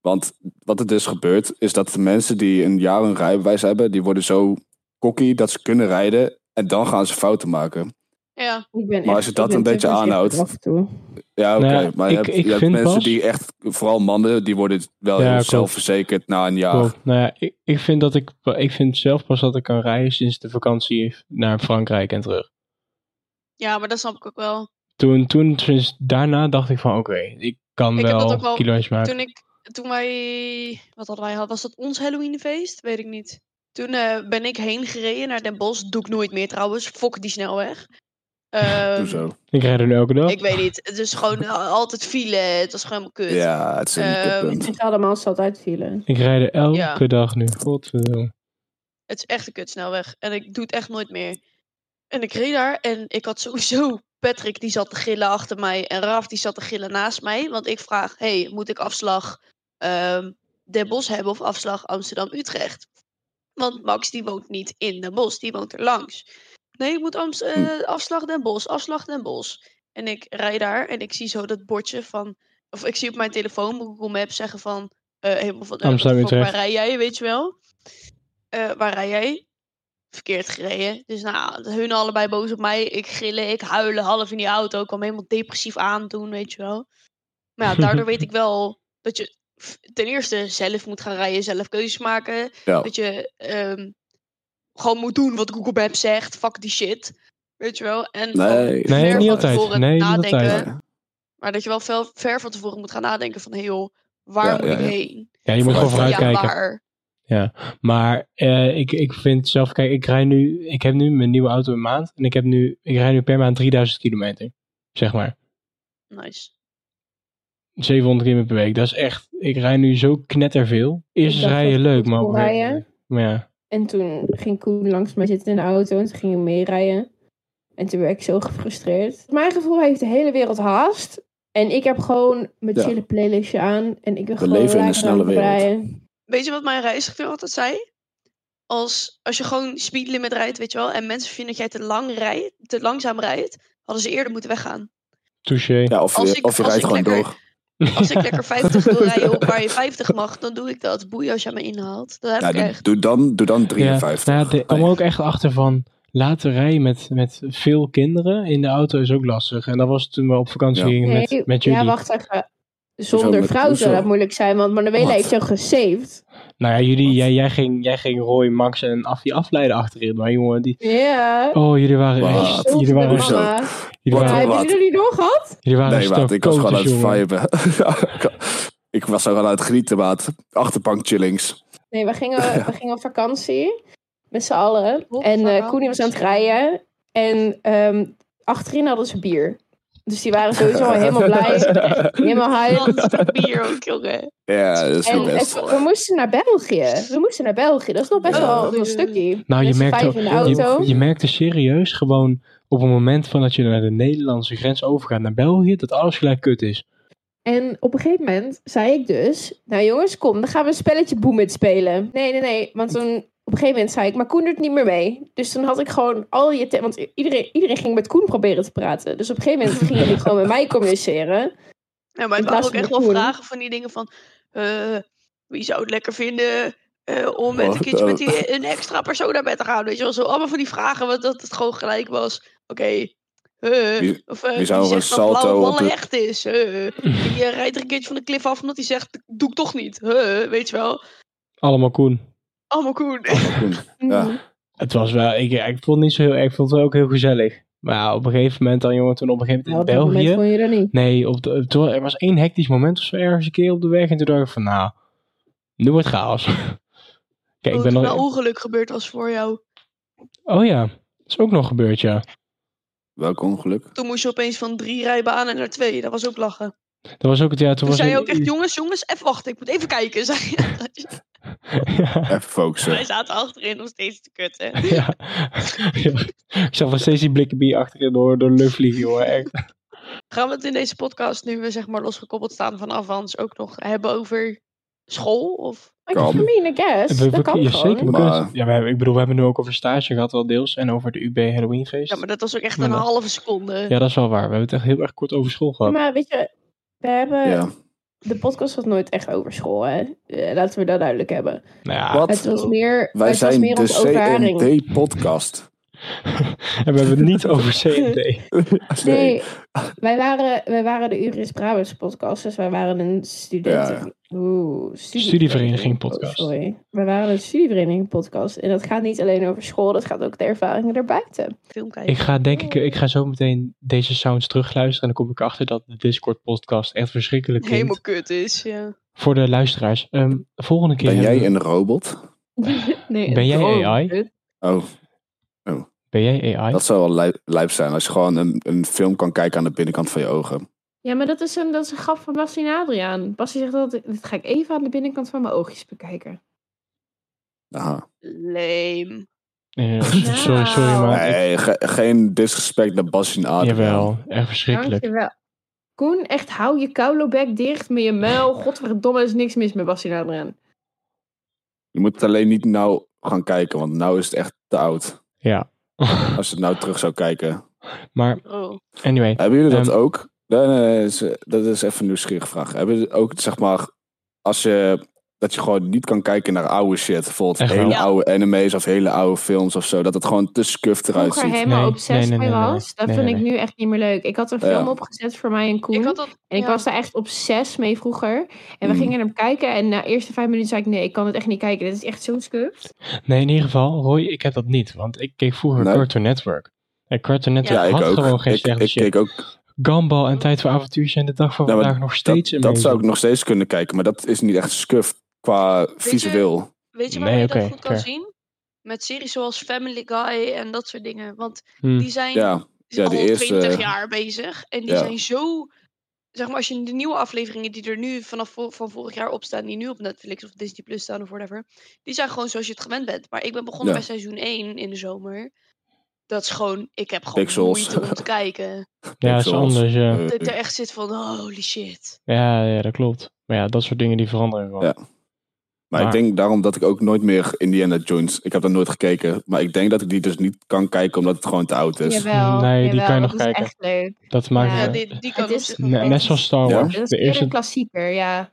Speaker 3: Want wat er dus gebeurt, is dat de mensen die een jaar een rijbewijs hebben, die worden zo kokkie dat ze kunnen rijden en dan gaan ze fouten maken.
Speaker 5: Ja,
Speaker 1: Ik ben
Speaker 3: Maar
Speaker 1: echt-
Speaker 3: als je dat
Speaker 1: ik ben
Speaker 3: een beetje
Speaker 1: te voorzichtig
Speaker 3: aanhoudt-
Speaker 1: af en toe.
Speaker 3: Ja, oké,
Speaker 2: Nou ja,
Speaker 3: maar je
Speaker 2: ik-
Speaker 3: hebt,
Speaker 2: ik
Speaker 3: je hebt
Speaker 2: vind
Speaker 3: mensen
Speaker 2: pas-
Speaker 3: die echt, vooral mannen, die worden wel
Speaker 2: Ja,
Speaker 3: heel
Speaker 2: klopt.
Speaker 3: zelfverzekerd na een jaar.
Speaker 2: Klopt. Nou ja, ik, ik vind dat ik, ik vind zelf pas dat ik kan rijden sinds de vakantie naar Frankrijk en terug.
Speaker 5: ja, maar dat snap ik ook wel.
Speaker 2: Toen, toen sinds daarna dacht ik van oké, ik kan
Speaker 5: Ik heb dat
Speaker 2: wel,
Speaker 5: ook wel
Speaker 2: kilo's maken.
Speaker 5: Toen ik, toen wij, wat hadden wij gehad? Was dat ons Halloweenfeest? Weet ik niet. Toen eh, ben ik heen gereden naar Den Bosch. Doe ik nooit meer trouwens. Fok die snelweg.
Speaker 3: Doe
Speaker 5: Ehm,
Speaker 3: zo.
Speaker 2: Ik rijd er nu elke dag.
Speaker 5: ik weet niet. Het is gewoon al- altijd file. Het was gewoon helemaal kut.
Speaker 3: Ja, het is een
Speaker 5: dus, Ehm,
Speaker 3: kutpunt.
Speaker 1: Het is allemaal zat uitvielen.
Speaker 2: Ik rijd er elke
Speaker 5: Ja.
Speaker 2: dag nu. Godverdomme.
Speaker 5: Het is echt een kut snelweg. En ik doe het echt nooit meer. En ik reed daar en ik had sowieso Patrick die zat te gillen achter mij. En Raf die zat te gillen naast mij. Want ik vraag, hey, moet ik afslag ehm Den Bosch hebben of afslag Amsterdam-Utrecht? Want Max die woont niet in Den Bosch, die woont er langs. Nee, ik moet Amst- eh, afslag Den Bosch, afslag Den Bosch. En ik rijd daar en ik zie zo dat bordje van... Of ik zie op mijn telefoon Google Maps zeggen van... eh, helemaal van, eh,
Speaker 2: Amsterdam,
Speaker 5: wat de fuck,
Speaker 2: Utrecht.
Speaker 5: Waar rij jij, weet je wel? Eh, waar rij jij? verkeerd gereden. Dus nou, hun allebei boos op mij. Ik gillen, ik huilen, half in die auto. Ik kwam helemaal depressief aan toen, weet je wel. Maar ja, daardoor weet ik wel dat je f- ten eerste zelf moet gaan rijden, zelf keuzes maken.
Speaker 2: Oh.
Speaker 3: Ja.
Speaker 5: Dat je ehm, gewoon moet doen wat Google Maps zegt. Fuck die shit. Weet je wel. En ook
Speaker 3: Nee.
Speaker 2: Nee,
Speaker 5: ver
Speaker 2: niet
Speaker 5: van
Speaker 2: altijd.
Speaker 5: tevoren
Speaker 2: Nee, niet
Speaker 5: nadenken.
Speaker 2: altijd.
Speaker 5: Maar dat je wel veel, ver van tevoren moet gaan nadenken van... Hey, joh, waar
Speaker 3: Ja,
Speaker 5: moet
Speaker 3: ja,
Speaker 5: ik
Speaker 3: ja.
Speaker 5: heen?
Speaker 2: Ja, je moet gewoon
Speaker 3: Vooruit.
Speaker 2: vooruit
Speaker 5: Ja,
Speaker 2: kijken.
Speaker 5: waar?
Speaker 2: Maar eh, ik, ik vind zelf, kijk, ik, rij nu, ik heb nu mijn nieuwe auto een maand. En ik, heb nu, ik rij nu per maand 3000 kilometer. Zeg maar.
Speaker 5: Nice.
Speaker 2: 700 kilometer per week. Dat is echt, ik rij nu zo knetterveel. Eerst is
Speaker 1: dacht
Speaker 2: rijden
Speaker 1: dat
Speaker 2: leuk,
Speaker 1: het
Speaker 2: maar op
Speaker 1: kon
Speaker 2: een gegeven
Speaker 1: rijden.
Speaker 2: moment- Maar ja.
Speaker 1: En toen ging Koen langs mij zitten in de auto en toen ging hij meerijden. En toen werd ik zo gefrustreerd. Voor mijn gevoel heeft de hele wereld haast. En ik heb gewoon mijn
Speaker 3: Ja.
Speaker 1: chille playlistje aan. En ik wil
Speaker 3: We
Speaker 1: gewoon
Speaker 3: leven in een
Speaker 1: lekker aan
Speaker 3: snelle
Speaker 1: het
Speaker 3: wereld.
Speaker 1: rijden.
Speaker 5: Weet je wat mijn reiziger altijd zei? Als, als je gewoon speedlimit rijdt, weet je wel... en mensen vinden dat jij te, lang rijdt, te langzaam rijdt... hadden ze eerder moeten weggaan.
Speaker 2: Touché.
Speaker 3: Ja, of,
Speaker 5: Als
Speaker 3: je,
Speaker 5: ik-
Speaker 3: of je
Speaker 5: als
Speaker 3: rijdt
Speaker 5: ik
Speaker 3: gewoon
Speaker 5: lekker-
Speaker 3: door.
Speaker 5: Als ik lekker 50 wil rijden op waar je 50 mag... dan doe ik dat. Boeien als jij me inhaalt. Dat heb
Speaker 1: Nou,
Speaker 3: Ja,
Speaker 5: ik
Speaker 3: doe,
Speaker 5: echt.
Speaker 3: doe dan, doe dan
Speaker 2: Ja,
Speaker 3: 53.
Speaker 2: nou ja, de- ik kwam er ook echt achter van laten rijden met, met veel kinderen in de auto is ook lastig. En dat was toen we op vakantie
Speaker 3: Ja.
Speaker 2: gingen met,
Speaker 1: Nee,
Speaker 2: met jullie.
Speaker 1: ja, wacht even.
Speaker 3: Zo
Speaker 1: Zonder
Speaker 3: met-
Speaker 1: vrouw zou
Speaker 3: zo.
Speaker 1: dat moeilijk zijn, want Manuela
Speaker 3: Wat?
Speaker 1: heeft zo gesaved.
Speaker 2: Nou ja, jullie, jij, jij, ging, jij ging Roy, Max en Affie afleiden achterin. Maar jongen, die...
Speaker 1: Ja.
Speaker 2: Oh, jullie waren
Speaker 3: Wat?
Speaker 2: echt...
Speaker 1: Zoveel
Speaker 2: Jullie waren,
Speaker 3: Hoezo?
Speaker 1: mama.
Speaker 2: jullie
Speaker 1: Ja,
Speaker 2: waren,
Speaker 1: hebben
Speaker 3: Wat?
Speaker 1: jullie er niet door gehad?
Speaker 2: jullie waren
Speaker 3: nee, maat, ik was gewoon aan het
Speaker 2: stokoters, jongen.
Speaker 3: viben. Ja, ik- ik was er gewoon aan het genieten, maat. Achterbank chillings.
Speaker 1: Nee, we gingen, we gingen op vakantie. Met z'n allen.
Speaker 5: Op
Speaker 1: en eh
Speaker 5: vakantie.
Speaker 1: Koenie was aan het rijden. En ehm, achterin hadden ze bier. Dus die waren sowieso al helemaal blij. Helemaal hype.
Speaker 5: Land voor bier ook, jongen.
Speaker 3: Ja, dat is
Speaker 1: En
Speaker 3: nog best.
Speaker 1: het- we moesten naar België. We moesten naar België. Dat is nog best
Speaker 3: Ja.
Speaker 1: wel een stukje.
Speaker 2: Nou, je
Speaker 1: Met z'n
Speaker 2: merkte,
Speaker 1: vijf in de auto.
Speaker 2: je, je merkte serieus gewoon op het moment van dat je naar de Nederlandse grens overgaat naar België, dat alles gelijk kut is.
Speaker 1: En op een gegeven moment zei ik dus... Nou jongens, kom, dan gaan we een spelletje Boemit spelen. Nee, nee, nee. Want toen... Op een gegeven moment zei ik, maar Koen doet niet meer mee. Dus toen had ik gewoon al je... te- Want iedereen, iedereen ging met Koen proberen te praten. Dus op een gegeven moment gingen jullie gewoon met mij communiceren.
Speaker 5: Ja, maar
Speaker 1: In
Speaker 5: ik wou
Speaker 1: plaats
Speaker 5: ook
Speaker 1: van
Speaker 5: echt
Speaker 1: de
Speaker 5: wel
Speaker 1: koe.
Speaker 5: vragen van die dingen van... eh, wie zou het lekker vinden eh, om met
Speaker 3: Oh,
Speaker 5: een keertje
Speaker 3: oh.
Speaker 5: met die, een extra persoon naar bed te gaan? Weet je wel, zo allemaal van die vragen, want dat het gewoon gelijk was. Oké, eh,
Speaker 3: Wie-
Speaker 5: of eh,
Speaker 3: wie zou er een
Speaker 5: zegt dat
Speaker 3: salto
Speaker 5: blauwe
Speaker 3: op
Speaker 5: ballen
Speaker 3: de-
Speaker 5: echt is? eh, die eh, rijdt er een keertje van de klif af omdat hij zegt, doe ik toch niet. eh, weet je wel,
Speaker 2: Allemaal Koen.
Speaker 5: allemaal cool.
Speaker 3: Ja.
Speaker 2: Het was wel, ik, ik vond het niet zo heel erg, ik vond het wel ook heel gezellig. Maar ja, op een gegeven moment dan, jongen, toen op een gegeven
Speaker 1: Nou, op
Speaker 2: moment
Speaker 1: dat
Speaker 2: in
Speaker 1: moment
Speaker 2: België...
Speaker 1: kon je dat niet.
Speaker 2: Nee, op de, toen- er was één hectisch moment of zo ergens een keer op de weg. En toen dacht ik van, nou, nu wordt chaos. Kijk, ik
Speaker 5: Toen
Speaker 2: ben
Speaker 5: er een
Speaker 2: nog...
Speaker 5: ongeluk gebeurd was voor jou.
Speaker 2: Oh ja, dat is ook nog gebeurd, ja.
Speaker 3: Welk ongeluk.
Speaker 5: Toen moest je opeens van drie rijbanen naar twee. Dat was ook lachen.
Speaker 2: Dat was ook het jaar, toen,
Speaker 5: Toen
Speaker 2: was
Speaker 5: zei je
Speaker 2: ik-
Speaker 5: ook echt, jongens, jongens, even wachten. Ik moet even kijken, zei je.
Speaker 2: ja,
Speaker 3: Even focussen.
Speaker 5: Wij zaten achterin nog steeds te kutten.
Speaker 2: ja. Ik zag nog steeds die blikken bier achterin door, door de lucht vliegen, jongen. Echt.
Speaker 5: Gaan we het in deze podcast, nu we zeg maar losgekoppeld staan van Avans, ook nog hebben over school? Of...
Speaker 1: I
Speaker 3: Kan.
Speaker 1: mean, I guess.
Speaker 2: We- we-
Speaker 1: dat kan
Speaker 2: ja,
Speaker 1: gewoon.
Speaker 2: zeker, we
Speaker 3: Maar-
Speaker 2: kunnen het- ja, we hebben, ik bedoel, we hebben nu ook over stage gehad, wel deels. En over de UB Halloweenfeest.
Speaker 5: Ja,
Speaker 2: Ja, nou.
Speaker 5: maar dat was ook echt
Speaker 2: Maar
Speaker 5: een
Speaker 2: dat-
Speaker 5: halve seconde.
Speaker 2: dat is wel waar. We hebben het echt heel erg kort over school gehad.
Speaker 1: Maar weet je, we hebben...
Speaker 3: Ja.
Speaker 1: De podcast was nooit echt over school, hè. Eh, laten we dat duidelijk hebben.
Speaker 2: Nou ja,
Speaker 3: Wat?
Speaker 1: Het was meer,
Speaker 3: Wij
Speaker 1: het was
Speaker 3: zijn
Speaker 1: meer
Speaker 3: de
Speaker 1: onze ervaring.
Speaker 3: CMD-podcast.
Speaker 2: en we hebben het niet over CMD.
Speaker 1: Nee, wij waren, wij waren de Uris Brabants podcast, dus wij waren een studenten... Oeh,
Speaker 2: Studievereniging
Speaker 1: oh,
Speaker 2: podcast.
Speaker 1: sorry. Wij waren een studievereniging podcast. En dat gaat niet alleen over school, dat gaat ook de ervaringen daarbuiten.
Speaker 5: Film kijken.
Speaker 2: Ik ga denk ik, ik ga zo meteen deze sounds terugluisteren en dan kom ik achter dat de Discord podcast echt verschrikkelijk klinkt.
Speaker 5: Helemaal kut is. Ja.
Speaker 2: Voor de luisteraars. Ehm, de volgende keer.
Speaker 3: Ben jij
Speaker 2: hebben we-
Speaker 3: een robot?
Speaker 1: Nee,
Speaker 2: Ben jij
Speaker 1: oh,
Speaker 2: AI?
Speaker 1: kut.
Speaker 3: Oh,
Speaker 2: ben jij AI?
Speaker 3: dat zou wel lijp- lijp zijn. Als je gewoon een, een film kan kijken aan de binnenkant van je ogen.
Speaker 1: Ja, maar dat is een, dat is een grap van Bassie en Adriaan. Bassie zegt altijd, dit ga ik even aan de binnenkant van mijn oogjes bekijken.
Speaker 3: Aha.
Speaker 5: Lame.
Speaker 2: Eh, sorry, sorry,
Speaker 1: Nou.
Speaker 2: maar. ik-
Speaker 3: Nee, ge- geen disrespect naar Bas en Adriaan.
Speaker 2: jawel, echt verschrikkelijk.
Speaker 1: Dankjewel. Koen, echt hou je kouloback dicht met je muil. Godverdomme, er is niks mis met Bassie en Adriaan.
Speaker 3: Je moet het alleen niet nou gaan kijken, want nou is het echt te oud.
Speaker 2: Ja.
Speaker 3: Als je het nou terug zou kijken.
Speaker 2: maar,
Speaker 5: Bro.
Speaker 2: anyway.
Speaker 3: Hebben jullie dat
Speaker 2: Ehm.
Speaker 3: ook? Nee, nee, nee, dat is- dat is even een nieuwsgierige vraag. Hebben jullie ook, zeg maar, als je dat je gewoon niet kan kijken naar oude shit. Bijvoorbeeld
Speaker 2: Echt wel?
Speaker 3: hele
Speaker 5: Ja.
Speaker 3: oude animes of hele oude films of zo. Dat het gewoon te scuffed eruit
Speaker 1: Vroeger
Speaker 3: ziet.
Speaker 1: helemaal
Speaker 2: Nee,
Speaker 1: obsessief
Speaker 2: nee, nee,
Speaker 1: mee
Speaker 2: nee, nee.
Speaker 1: was. Dat
Speaker 2: Nee,
Speaker 1: vind
Speaker 2: nee,
Speaker 1: ik nu echt niet meer leuk. Ik had een
Speaker 3: Ja.
Speaker 1: film opgezet voor mij en Koen.
Speaker 5: Ik had dat.
Speaker 1: En ik
Speaker 5: ja.
Speaker 1: was daar echt obsessief mee vroeger. En we
Speaker 3: Mm.
Speaker 1: gingen hem kijken. En na de eerste vijf minuten zei ik: Nee, ik kan het echt niet kijken. Dit is echt zo scuffed.
Speaker 2: Nee, in ieder geval, Roy, ik heb dat niet. Want ik keek vroeger
Speaker 3: Nee?
Speaker 2: Cartoon Network. En Cartoon Network
Speaker 3: Ja, ik
Speaker 2: had gewoon
Speaker 3: ook.
Speaker 2: geen
Speaker 3: Ik,
Speaker 2: slechte
Speaker 3: ik
Speaker 2: shit.
Speaker 3: keek ook
Speaker 2: Gumball en Tijd voor Avontuur zijn de dag van
Speaker 3: Ja, maar
Speaker 2: vandaag nog steeds
Speaker 3: dat, dat
Speaker 2: amazing.
Speaker 3: zou ik nog steeds kunnen kijken, maar dat is niet echt scuffed qua
Speaker 5: je-
Speaker 3: visueel.
Speaker 5: Weet je waar
Speaker 2: Nee,
Speaker 5: je
Speaker 2: oké,
Speaker 5: dat goed kan
Speaker 2: fair.
Speaker 5: zien? Met series zoals Family Guy en dat soort dingen. Want
Speaker 2: Hmm.
Speaker 5: die zijn
Speaker 3: Ja,
Speaker 5: die
Speaker 3: ja,
Speaker 5: al
Speaker 3: de eerste-
Speaker 5: 20 jaar bezig. En die
Speaker 3: Ja.
Speaker 5: zijn zo. Zeg maar, als je de nieuwe afleveringen die er nu vanaf vo- van vorig jaar op staan, die nu op Netflix of Disney Plus staan of whatever, die zijn gewoon zoals je het gewend bent. Maar ik ben begonnen
Speaker 3: Ja.
Speaker 5: bij seizoen 1 in de zomer. Dat is gewoon, ik heb gewoon
Speaker 3: Pixels.
Speaker 5: moeite om te kijken.
Speaker 2: Ja, dat is
Speaker 3: Pixels.
Speaker 2: anders. Ja.
Speaker 3: Eh,
Speaker 5: Dat ik er echt zit van, holy shit.
Speaker 2: Ja, ja, dat klopt. Maar ja, dat soort dingen die veranderen gewoon.
Speaker 3: Ja. maar ik
Speaker 2: maar-
Speaker 3: denk daarom dat ik ook nooit meer Indiana Jones. Ik heb dat nooit gekeken, maar ik denk dat ik die dus niet kan kijken omdat het gewoon te oud is.
Speaker 1: Jawel.
Speaker 2: Nee, die
Speaker 1: jawel,
Speaker 2: kan je
Speaker 1: dat
Speaker 2: nog
Speaker 1: is
Speaker 2: kijken.
Speaker 1: echt leuk.
Speaker 2: Dat maakt
Speaker 1: Ja,
Speaker 5: Ja,
Speaker 2: het-
Speaker 5: die, die
Speaker 1: Het
Speaker 5: kan op
Speaker 1: is-
Speaker 5: zich nog
Speaker 2: ne-
Speaker 5: wel.
Speaker 2: net zoals Star
Speaker 3: Ja?
Speaker 2: Wars.
Speaker 1: Dat is
Speaker 2: De
Speaker 1: eerder
Speaker 2: eerste,
Speaker 1: een klassieker, ja.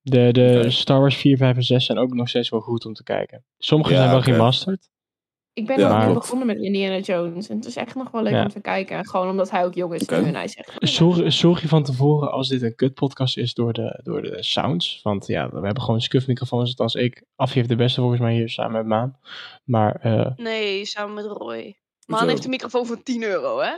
Speaker 2: de, de
Speaker 3: Oké.
Speaker 2: Star Wars 4, 5 en 6 zijn ook nog steeds wel goed om te kijken. Sommige
Speaker 3: Ja,
Speaker 2: zijn wel
Speaker 3: oké.
Speaker 2: gemasterd.
Speaker 1: Ik ben
Speaker 3: Ja,
Speaker 1: nog niet
Speaker 3: klopt.
Speaker 1: begonnen met Indiana Jones. En het is echt nog wel leuk
Speaker 2: Ja.
Speaker 1: om te kijken. Gewoon omdat hij ook jong is
Speaker 3: Oké.
Speaker 1: nu. En hij is echt...
Speaker 2: Sorry, sorry van tevoren als dit een kutpodcast is door de, door de sounds. Want ja, we hebben gewoon scuff microfoons. Althans, ik. Af heeft de beste volgens mij hier samen met Maan. Maar eh,
Speaker 5: Nee, samen met Roy. Maan
Speaker 3: Zo.
Speaker 5: heeft een microfoon voor 10 euro, hè?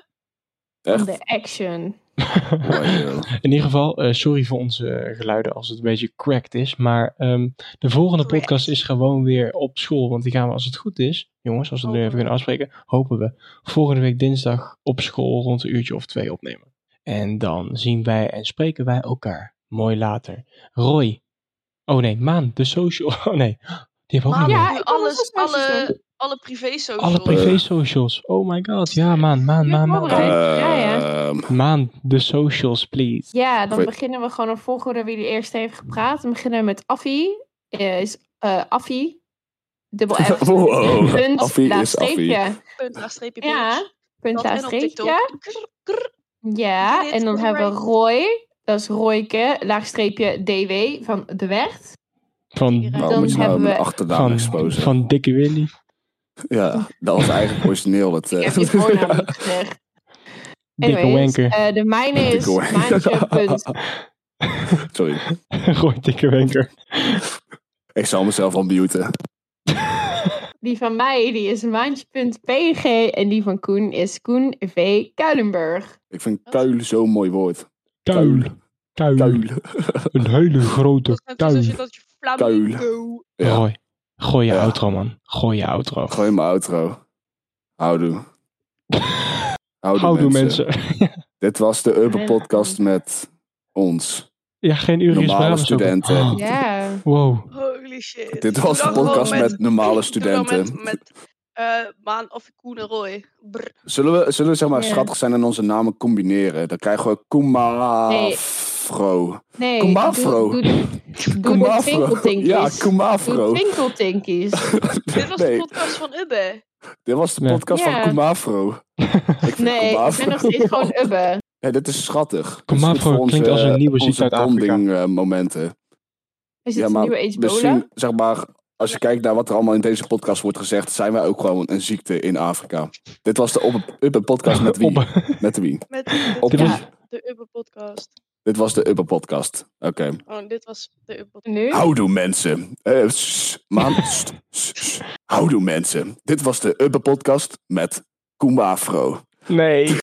Speaker 1: Van
Speaker 3: Echt?
Speaker 1: de action.
Speaker 3: Mooi, joh.
Speaker 2: in ieder geval, eh, sorry voor onze eh, geluiden als het een beetje cracked is. Maar ehm, de volgende
Speaker 5: Cracked.
Speaker 2: podcast is gewoon weer op school. Want die gaan we als het goed is, jongens, als we het nu even
Speaker 5: Hopen we.
Speaker 2: kunnen afspreken, hopen we volgende week dinsdag op school rond een uurtje of twee opnemen. En dan zien wij en spreken wij elkaar. Mooi later. Roy. Oh nee, Maan, de social. Oh nee, die hebben we ook
Speaker 5: Maan
Speaker 2: niet meer.
Speaker 1: Ja,
Speaker 5: heeft nu
Speaker 1: ik kan
Speaker 5: alles,
Speaker 1: het ook zo
Speaker 5: alle, alle privé socials.
Speaker 2: Alle privé-socials. Oh my god. Ja, Maan, Maan,
Speaker 1: Je
Speaker 2: Maan, Maan.
Speaker 1: hebt
Speaker 2: Maan.
Speaker 1: voorbereid. Ja, ja.
Speaker 3: Ehm,
Speaker 2: Maan, de socials, please.
Speaker 1: Ja, dan
Speaker 3: Voor-
Speaker 1: beginnen we gewoon een volgorde wie de eerste heeft gepraat. Dan beginnen we met Affie. Eh, is eh Affie. Dubbel F.
Speaker 3: Wow.
Speaker 1: Punt,
Speaker 3: Affie is
Speaker 1: laagstreepje.
Speaker 5: Punt, laagstreepje, punt.
Speaker 1: Ja. Punt,
Speaker 5: Dat en op
Speaker 1: laagstreepje.
Speaker 5: TikTok. Krr, krr.
Speaker 1: Ja,
Speaker 5: Dit
Speaker 1: en dan
Speaker 5: is
Speaker 1: hebben we Roy. Dat is Royke, laagstreepje DW van De Werd.
Speaker 2: Van,
Speaker 5: Dan
Speaker 3: waarom moet je nou
Speaker 1: hebben
Speaker 3: mijn
Speaker 1: we-
Speaker 3: achternaam
Speaker 2: van,
Speaker 3: exposen?
Speaker 2: van Dikke Willy.
Speaker 3: Ja, dat was eigenlijk origineel. Dat,
Speaker 1: Ik
Speaker 3: eh,
Speaker 1: heb je voornaam niet gezegd.
Speaker 2: Dikke
Speaker 1: Anyways,
Speaker 2: Wenker.
Speaker 1: eh, de mijne is
Speaker 3: Dikke wanker.
Speaker 1: mijntje punt.
Speaker 3: sorry,
Speaker 2: Gooi Dikke Wenker.
Speaker 3: ik zal mezelf al muten.
Speaker 1: Die van mij die is maandje.pg en die van Koen is Koen V. Kuilenburg.
Speaker 3: Ik vind kuil zo'n mooi woord.
Speaker 2: Kuil. Kuil.
Speaker 3: Kuil.
Speaker 2: Een hele
Speaker 5: Dat is
Speaker 2: grote
Speaker 5: net
Speaker 2: kuil.
Speaker 5: alsof je dat je flamingo...
Speaker 3: Ja.
Speaker 2: Roy, gooi je
Speaker 3: Ja.
Speaker 2: outro, man. Gooi je outro.
Speaker 3: Gooi mijn outro. Houdoe. Houdoe,
Speaker 2: Houdoe,
Speaker 3: mensen.
Speaker 2: mensen.
Speaker 3: Dit was de Urban
Speaker 1: Ja.
Speaker 3: Podcast met ons.
Speaker 2: ja, geen uur is
Speaker 3: Normale studenten.
Speaker 1: Ja.
Speaker 2: Wow.
Speaker 5: Holy shit.
Speaker 3: Dit was de
Speaker 5: Doe dan
Speaker 3: podcast
Speaker 5: gewoon
Speaker 3: met normale
Speaker 5: doe dan
Speaker 3: studenten.
Speaker 5: Met, met eh, Maan of Koen en Roy. Brr.
Speaker 3: Zullen we, zullen we zeg maar
Speaker 1: Ja.
Speaker 3: schattig zijn en onze namen combineren? Dan krijgen we Kumafro.
Speaker 1: Nee,
Speaker 3: Kom maar,
Speaker 1: doe-
Speaker 3: vro.
Speaker 1: Doe, de- doe de
Speaker 3: Kumafro.
Speaker 1: twinkeltinkies.
Speaker 3: Ja,
Speaker 1: Doe
Speaker 3: Kumafro.
Speaker 1: twinkeltinkies.
Speaker 5: Dit was de
Speaker 3: Nee,
Speaker 5: podcast van Ubbe.
Speaker 3: dit was de
Speaker 2: Nee.
Speaker 3: podcast
Speaker 1: Ja.
Speaker 3: van Kumafro. Ik vind
Speaker 1: Nee, ik
Speaker 3: Kumafro-
Speaker 1: ben nog steeds gewoon ubbe.
Speaker 3: Ja, dit is schattig.
Speaker 2: Kumafro
Speaker 3: Dit is goed voor
Speaker 2: klinkt als een nieuwe ziekte uit
Speaker 3: onze
Speaker 2: Afrika.
Speaker 3: bonding, eh, momenten.
Speaker 1: Is het een nieuwe ebola?
Speaker 3: misschien, zeg maar, als je kijkt naar wat er allemaal in deze podcast wordt gezegd, zijn wij ook gewoon een ziekte in Afrika. Dit was de Up- Upper Podcast met wie?
Speaker 2: Op-
Speaker 3: Met wie?
Speaker 5: Met de,
Speaker 3: Op-
Speaker 2: Dit was-
Speaker 5: ja, de Ubbe podcast.
Speaker 3: Dit was de Upper Podcast. Oké.
Speaker 5: Oh, dit was de Ubbe podcast.
Speaker 1: Nu?
Speaker 3: Houdoe mensen. Eh, sst, man, sst, sst, sst. Houdoe mensen. Dit was de Upper Podcast met Kumafro.
Speaker 2: Nee.